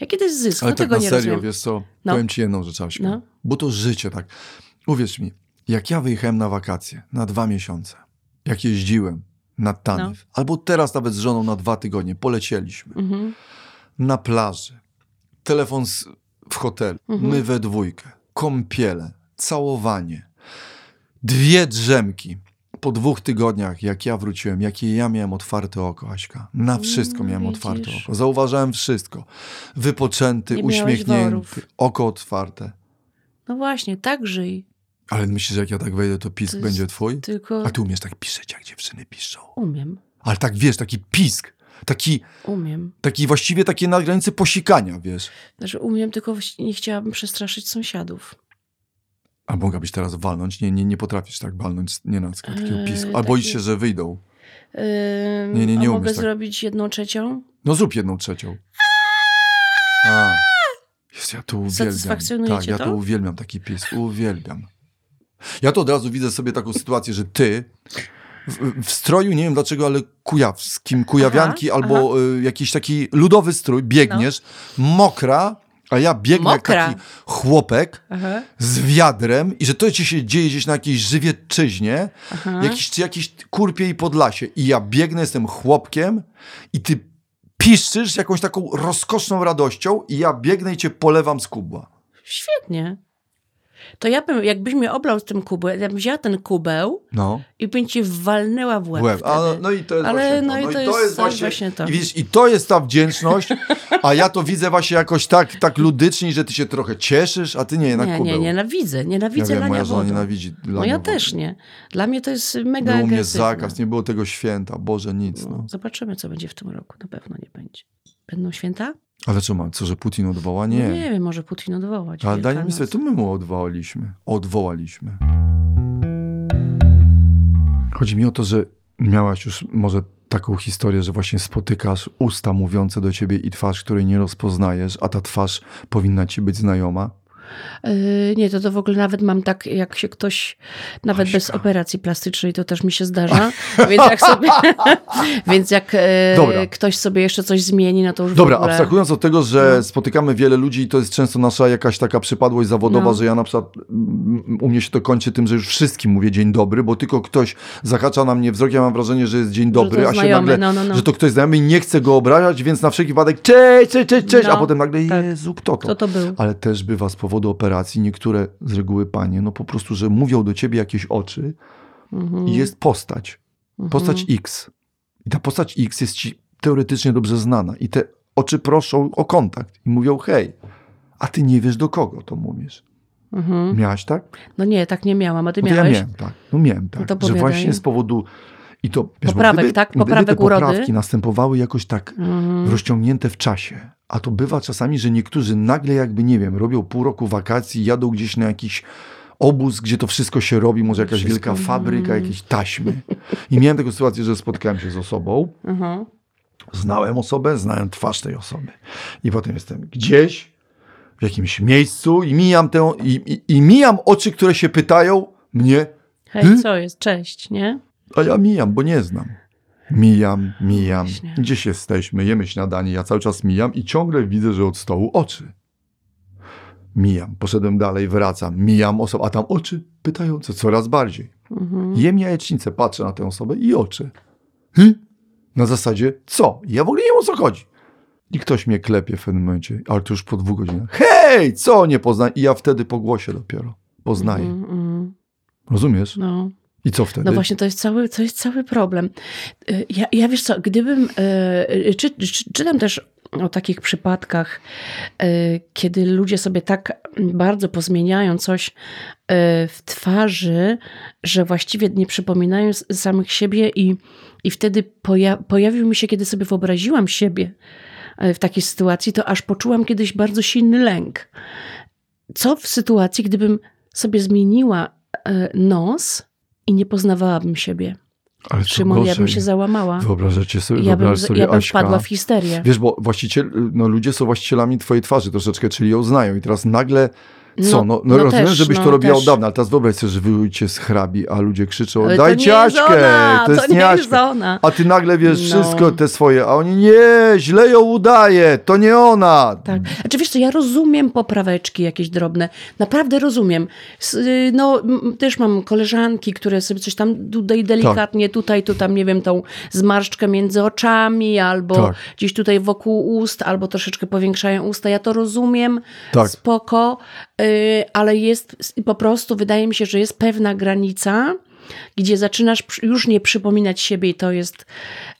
[SPEAKER 1] Jaki to jest zysk?
[SPEAKER 2] Ale
[SPEAKER 1] no,
[SPEAKER 2] tak
[SPEAKER 1] tego
[SPEAKER 2] na
[SPEAKER 1] nie
[SPEAKER 2] serio,
[SPEAKER 1] rozumiem.
[SPEAKER 2] wiesz co,
[SPEAKER 1] No.
[SPEAKER 2] powiem ci jedną rzecz, Aśka.
[SPEAKER 1] No.
[SPEAKER 2] Bo to życie tak. Uwierz mi, jak ja wyjechałem na wakacje na dwa miesiące, jak jeździłem na Taniew,
[SPEAKER 1] No.
[SPEAKER 2] albo teraz nawet z żoną na dwa tygodnie, polecieliśmy
[SPEAKER 1] Mhm.
[SPEAKER 2] na plaży, telefon z, w hotelu,
[SPEAKER 1] Mhm.
[SPEAKER 2] my we dwójkę, kąpiele, całowanie, dwie drzemki. Po dwóch tygodniach, jak ja wróciłem, jakie ja miałem otwarte oko, Aśka. Na wszystko
[SPEAKER 1] Mm,
[SPEAKER 2] miałem
[SPEAKER 1] widzisz.
[SPEAKER 2] otwarte oko. Zauważałem wszystko. Wypoczęty,
[SPEAKER 1] Nie miałeś
[SPEAKER 2] uśmiechnięty,
[SPEAKER 1] worów.
[SPEAKER 2] oko otwarte.
[SPEAKER 1] No właśnie, tak żyj.
[SPEAKER 2] Ale myślisz, że jak ja tak wejdę, to pisk
[SPEAKER 1] To jest-
[SPEAKER 2] będzie twój?
[SPEAKER 1] Tylko
[SPEAKER 2] A ty umiesz tak piszeć, jak dziewczyny piszą.
[SPEAKER 1] umiem,
[SPEAKER 2] Ale tak, wiesz, taki pisk. Taki,
[SPEAKER 1] umiem.
[SPEAKER 2] taki właściwie takie na granicy posikania, wiesz.
[SPEAKER 1] Znaczy umiem, tylko właści- nie chciałabym przestraszyć sąsiadów.
[SPEAKER 2] A mogłabyś teraz walnąć? Nie, nie, nie potrafisz tak walnąć nie na takiego
[SPEAKER 1] Eee,
[SPEAKER 2] pisku. A
[SPEAKER 1] taki-
[SPEAKER 2] boisz się, że wyjdą.
[SPEAKER 1] Ym,
[SPEAKER 2] Nie, nie, nie
[SPEAKER 1] a
[SPEAKER 2] umiesz
[SPEAKER 1] mogę
[SPEAKER 2] tak.
[SPEAKER 1] zrobić jedną trzecią?
[SPEAKER 2] No zrób jedną trzecią. A. Jest, ja to uwielbiam.
[SPEAKER 1] Satysfakcjonuje
[SPEAKER 2] Tak,
[SPEAKER 1] cię
[SPEAKER 2] ja to
[SPEAKER 1] to?
[SPEAKER 2] uwielbiam taki pisk. Uwielbiam. Ja to od razu widzę sobie taką sytuację, że ty w, w stroju, nie wiem dlaczego, ale kujawskim, kujawianki
[SPEAKER 1] Aha,
[SPEAKER 2] albo Y, jakiś taki ludowy strój, biegniesz, mokra, a ja biegnę jak
[SPEAKER 1] No. Mokra.
[SPEAKER 2] taki chłopek
[SPEAKER 1] Aha,
[SPEAKER 2] z wiadrem i że to ci się dzieje gdzieś na jakiejś żywieczyźnie,
[SPEAKER 1] aha.
[SPEAKER 2] jakiś, czy jakiś kurpie i podlasie. I ja biegnę, jestem chłopkiem i ty piszczysz jakąś taką rozkoszną radością i ja biegnę i cię polewam z kubła.
[SPEAKER 1] Świetnie. To ja bym, jakbyś mnie oblał z tym kubłem, ja bym wzięła ten kubeł
[SPEAKER 2] No.
[SPEAKER 1] i bym ci walnęła w łeb.
[SPEAKER 2] Łeb. A,
[SPEAKER 1] wtedy.
[SPEAKER 2] no i to jest
[SPEAKER 1] Ale
[SPEAKER 2] właśnie to.
[SPEAKER 1] no i to jest- to jest właśnie to.
[SPEAKER 2] I, widzisz, I to jest ta wdzięczność, a ja to widzę właśnie jakoś tak, tak ludycznie, że ty się trochę cieszysz, a ty nie, na
[SPEAKER 1] nie,
[SPEAKER 2] kubeł.
[SPEAKER 1] nie, nienawidzę,
[SPEAKER 2] Ja
[SPEAKER 1] nienawidzę
[SPEAKER 2] wiem,
[SPEAKER 1] lania
[SPEAKER 2] moja żona
[SPEAKER 1] wodą.
[SPEAKER 2] nienawidzi lania
[SPEAKER 1] No ja
[SPEAKER 2] wody.
[SPEAKER 1] też nie. Dla mnie to jest mega
[SPEAKER 2] Był u mnie
[SPEAKER 1] agresywne.
[SPEAKER 2] zakaz, nie było tego święta, Boże, nic. No.
[SPEAKER 1] No, Zobaczymy, co będzie w tym roku. Na pewno nie będzie. Będą święta?
[SPEAKER 2] Ale co ma, co, że Putin odwoła?
[SPEAKER 1] No
[SPEAKER 2] Nie.
[SPEAKER 1] nie wiem, może Putin odwołać.
[SPEAKER 2] Ale daj mi
[SPEAKER 1] Wielkanoc.
[SPEAKER 2] sobie, to my mu odwołaliśmy. Odwołaliśmy. Chodzi mi o to, że miałaś już może taką historię, że właśnie spotykasz usta mówiące do ciebie i twarz, której nie rozpoznajesz, a ta twarz powinna ci być znajoma.
[SPEAKER 1] Yy, nie, to to w ogóle nawet mam tak, jak się ktoś, nawet
[SPEAKER 2] Aśka.
[SPEAKER 1] bez operacji plastycznej, to też mi się zdarza. więc jak sobie, więc jak e,
[SPEAKER 2] Dobra.
[SPEAKER 1] ktoś sobie jeszcze coś zmieni, no to już w
[SPEAKER 2] Dobra,
[SPEAKER 1] ogóle... No.
[SPEAKER 2] abstrahując od tego, że spotykamy wiele ludzi i to jest często nasza jakaś taka przypadłość zawodowa,
[SPEAKER 1] No.
[SPEAKER 2] że ja na przykład mm, u mnie się to kończy tym, że już wszystkim mówię dzień dobry, bo tylko ktoś zahacza na mnie wzrok, ja mam wrażenie, że jest dzień dobry,
[SPEAKER 1] to
[SPEAKER 2] a się
[SPEAKER 1] znajomy,
[SPEAKER 2] nagle,
[SPEAKER 1] no, no, no.
[SPEAKER 2] że to ktoś znajomy i nie chce go obrażać, więc na wszelki wypadek cześć, cześć, cześć, cześć, a
[SPEAKER 1] No,
[SPEAKER 2] potem nagle
[SPEAKER 1] tak.
[SPEAKER 2] Jezu, kto to?
[SPEAKER 1] Kto to był?
[SPEAKER 2] Ale też bywa z powodu operacji niektóre z reguły panie, no po prostu, że mówią do ciebie jakieś oczy
[SPEAKER 1] Mhm,
[SPEAKER 2] i jest postać.
[SPEAKER 1] mhm.
[SPEAKER 2] Postać X. I ta postać X jest ci teoretycznie dobrze znana. I te oczy proszą o kontakt i mówią hej. A ty nie wiesz do kogo to mówisz.
[SPEAKER 1] Mhm.
[SPEAKER 2] Miałaś tak?
[SPEAKER 1] No nie, tak nie miałam, a ty
[SPEAKER 2] No to ja
[SPEAKER 1] miałeś?
[SPEAKER 2] miałem tak. No miałem tak.
[SPEAKER 1] to
[SPEAKER 2] że
[SPEAKER 1] opowiadaj.
[SPEAKER 2] właśnie z powodu i to wiesz, bo
[SPEAKER 1] Poprawek,
[SPEAKER 2] gdyby,
[SPEAKER 1] tak?
[SPEAKER 2] gdyby te
[SPEAKER 1] Poprawek urody?
[SPEAKER 2] poprawki następowały jakoś tak
[SPEAKER 1] Mhm.
[SPEAKER 2] rozciągnięte w czasie. A to bywa czasami, że niektórzy nagle jakby, nie wiem, robią pół roku wakacji, jadą gdzieś na jakiś obóz, gdzie to wszystko się robi, może jakaś
[SPEAKER 1] Wszystko.
[SPEAKER 2] wielka fabryka,
[SPEAKER 1] Mm.
[SPEAKER 2] jakieś taśmy. I miałem taką sytuację, że spotkałem się z osobą,
[SPEAKER 1] Mhm.
[SPEAKER 2] znałem osobę, znałem twarz tej osoby. I potem jestem gdzieś, w jakimś miejscu i mijam, tę, i, i, i mijam oczy, które się pytają mnie,
[SPEAKER 1] Hej, co jest? Cześć, nie?
[SPEAKER 2] a ja mijam, bo nie znam. Mijam, mijam.
[SPEAKER 1] Właśnie.
[SPEAKER 2] Gdzieś jesteśmy, jemy śniadanie, ja cały czas mijam i ciągle widzę, że od stołu oczy. Mijam, poszedłem dalej, wracam, mijam osobę, a tam oczy pytające coraz bardziej.
[SPEAKER 1] Mhm.
[SPEAKER 2] Jem jajecznicę, patrzę Hm? na tę osobę i oczy. Hy? Na zasadzie co? Ja w ogóle nie wiem o co chodzi. I ktoś mnie klepie w pewnym momencie, ale to już po dwóch godzinach. Hej, co nie poznaję? I ja wtedy po głosie dopiero poznaję.
[SPEAKER 1] Mm, mm,
[SPEAKER 2] Rozumiesz?
[SPEAKER 1] no.
[SPEAKER 2] I co wtedy?
[SPEAKER 1] No właśnie, to jest cały, to jest cały problem. Y, Ja, ja wiesz co, gdybym, y, czy, czy, czytam też o takich przypadkach, y, kiedy ludzie sobie tak bardzo pozmieniają coś y, w twarzy, że właściwie nie przypominają s- samych siebie i, i wtedy poja- pojawił mi się, kiedy sobie wyobraziłam siebie y, w takiej sytuacji, to aż poczułam kiedyś bardzo silny lęk. Co w sytuacji, gdybym sobie zmieniła y, nos, i nie poznawałabym siebie.
[SPEAKER 2] Ale co
[SPEAKER 1] Szymon, ja bym
[SPEAKER 2] gorzej.
[SPEAKER 1] się załamała.
[SPEAKER 2] Wyobrażacie sobie,
[SPEAKER 1] Ja bym,
[SPEAKER 2] wyobraź sobie
[SPEAKER 1] ja bym
[SPEAKER 2] Aśka.
[SPEAKER 1] wpadła w histerię.
[SPEAKER 2] Wiesz, bo właściciel, no ludzie są właścicielami twojej twarzy troszeczkę, czyli ją znają i teraz nagle, co, no, no, rozumiem,
[SPEAKER 1] też,
[SPEAKER 2] żebyś
[SPEAKER 1] no,
[SPEAKER 2] to robiła
[SPEAKER 1] też.
[SPEAKER 2] od dawna, ale teraz wyobraź sobie, że wyjdzie z hrabi, a ludzie krzyczą,
[SPEAKER 1] Ale
[SPEAKER 2] dajcie
[SPEAKER 1] to nie
[SPEAKER 2] Aśkę,
[SPEAKER 1] jest ona,
[SPEAKER 2] to jest
[SPEAKER 1] nie
[SPEAKER 2] nie
[SPEAKER 1] jest
[SPEAKER 2] Aśka.
[SPEAKER 1] ona.
[SPEAKER 2] A ty nagle wiesz
[SPEAKER 1] No.
[SPEAKER 2] wszystko te swoje, a oni nie, źle ją udaje, to nie ona.
[SPEAKER 1] Tak. Znaczy wiesz co, ja rozumiem popraweczki jakieś drobne. Naprawdę rozumiem. S- y, No, m- też mam koleżanki, które sobie coś tam tutaj
[SPEAKER 2] Tak.
[SPEAKER 1] delikatnie, tutaj, tu tam, nie wiem, tą zmarszczkę między oczami, albo
[SPEAKER 2] Tak.
[SPEAKER 1] gdzieś tutaj wokół ust, albo troszeczkę powiększają usta. Ja to rozumiem,
[SPEAKER 2] Tak.
[SPEAKER 1] spoko, y, ale jest s- po prostu, wydaje mi się, że jest pewna granica, gdzie zaczynasz przy- już nie przypominać siebie i to jest...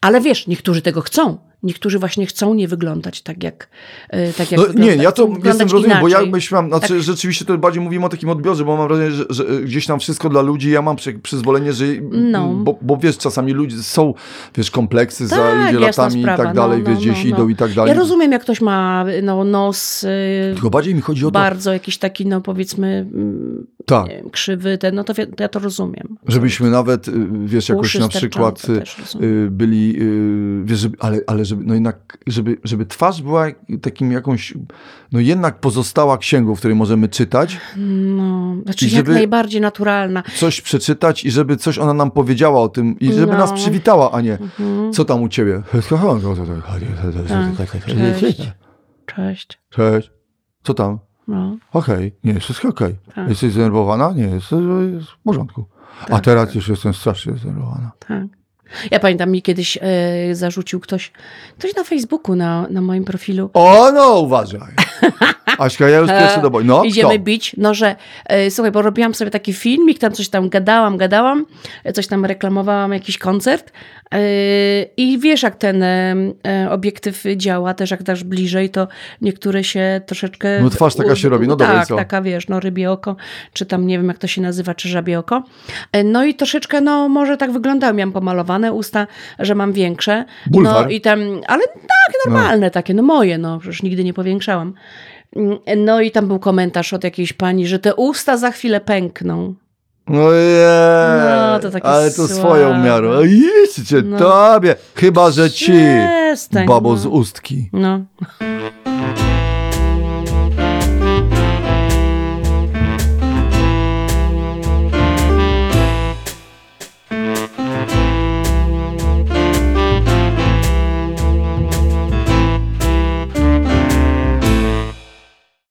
[SPEAKER 1] Ale wiesz, niektórzy tego chcą. Niektórzy właśnie chcą nie wyglądać tak jak, y, tak jak
[SPEAKER 2] No,
[SPEAKER 1] wygląda,
[SPEAKER 2] nie, ja to
[SPEAKER 1] chcą
[SPEAKER 2] jestem
[SPEAKER 1] wyglądać
[SPEAKER 2] rozumiem, bo ja
[SPEAKER 1] inaczej. Tak.
[SPEAKER 2] myślałem, znaczy rzeczywiście to bardziej mówimy o takim odbiorze, bo mam wrażenie, że, że e, gdzieś tam wszystko dla ludzi, ja mam przy, przyzwolenie, że,
[SPEAKER 1] No.
[SPEAKER 2] bo, bo wiesz, czasami ludzie są, wiesz, kompleksy za
[SPEAKER 1] Tak,
[SPEAKER 2] ludzie
[SPEAKER 1] jasna
[SPEAKER 2] latami
[SPEAKER 1] sprawa,
[SPEAKER 2] i tak dalej,
[SPEAKER 1] no, no,
[SPEAKER 2] wiesz, gdzieś
[SPEAKER 1] no, no.
[SPEAKER 2] idą i tak dalej.
[SPEAKER 1] Ja rozumiem, jak ktoś ma no, nos y,
[SPEAKER 2] Tylko bardziej mi chodzi o to,
[SPEAKER 1] bardzo jakiś taki, no powiedzmy, mm,
[SPEAKER 2] tak,
[SPEAKER 1] nie wiem, krzywy, ten, no to, wi- to ja to rozumiem.
[SPEAKER 2] żebyśmy nawet, y, wiesz, jakoś
[SPEAKER 1] Uszy
[SPEAKER 2] na
[SPEAKER 1] sterczące
[SPEAKER 2] przykład y,
[SPEAKER 1] też rozumiem.
[SPEAKER 2] y, byli, y, wiesz, żeby, ale, ale żeby, no jednak, żeby, żeby twarz była takim jakąś, no jednak pozostała księgą, w której możemy czytać,
[SPEAKER 1] No, znaczy
[SPEAKER 2] i
[SPEAKER 1] jak
[SPEAKER 2] żeby-
[SPEAKER 1] najbardziej naturalna.
[SPEAKER 2] coś przeczytać i żeby coś ona nam powiedziała o tym i żeby
[SPEAKER 1] No.
[SPEAKER 2] nas przywitała, a nie
[SPEAKER 1] Mhm.
[SPEAKER 2] co tam u ciebie?
[SPEAKER 1] Tak, cześć. Cześć.
[SPEAKER 2] Cześć. Co tam?
[SPEAKER 1] No,
[SPEAKER 2] Okej, nie, wszystko okej.
[SPEAKER 1] Tak.
[SPEAKER 2] Jesteś zdenerwowana? Nie, jest, jest w porządku. A
[SPEAKER 1] Tak.
[SPEAKER 2] teraz już jestem strasznie zdenerwowana.
[SPEAKER 1] tak. Ja pamiętam, mi kiedyś e, zarzucił ktoś, ktoś na Facebooku, na, na moim profilu,
[SPEAKER 2] O no, uważaj. Aśka, ja już pierwszy do boju. No,
[SPEAKER 1] E, Idziemy
[SPEAKER 2] kto?
[SPEAKER 1] bić. No, że e, słuchaj, bo robiłam sobie taki filmik, tam coś tam gadałam, gadałam, e, coś tam reklamowałam, jakiś koncert. E, I wiesz, jak ten e, e, obiektyw działa, też jak dasz bliżej, to niektóre się troszeczkę.
[SPEAKER 2] No, twarz taka się robi, no dobra, i
[SPEAKER 1] Tak,
[SPEAKER 2] co?
[SPEAKER 1] taka wiesz, no rybie oko, czy tam nie wiem, jak to się nazywa, czy żabie oko. E, No i troszeczkę, no może tak wyglądało, miałam pomalowane usta, że mam większe. No
[SPEAKER 2] Bulwar.
[SPEAKER 1] i tam, ale tak, normalne takie, no moje, no przecież nigdy nie powiększałam. Mm, No i tam był komentarz od jakiejś pani, że te usta za chwilę pękną.
[SPEAKER 2] No, je,
[SPEAKER 1] No, to takie
[SPEAKER 2] ale to
[SPEAKER 1] słabe.
[SPEAKER 2] swoją miarą. A Idźcie,
[SPEAKER 1] No.
[SPEAKER 2] tobie. Chyba, że ci,
[SPEAKER 1] Przestań,
[SPEAKER 2] babo
[SPEAKER 1] no.
[SPEAKER 2] z ustki.
[SPEAKER 1] No.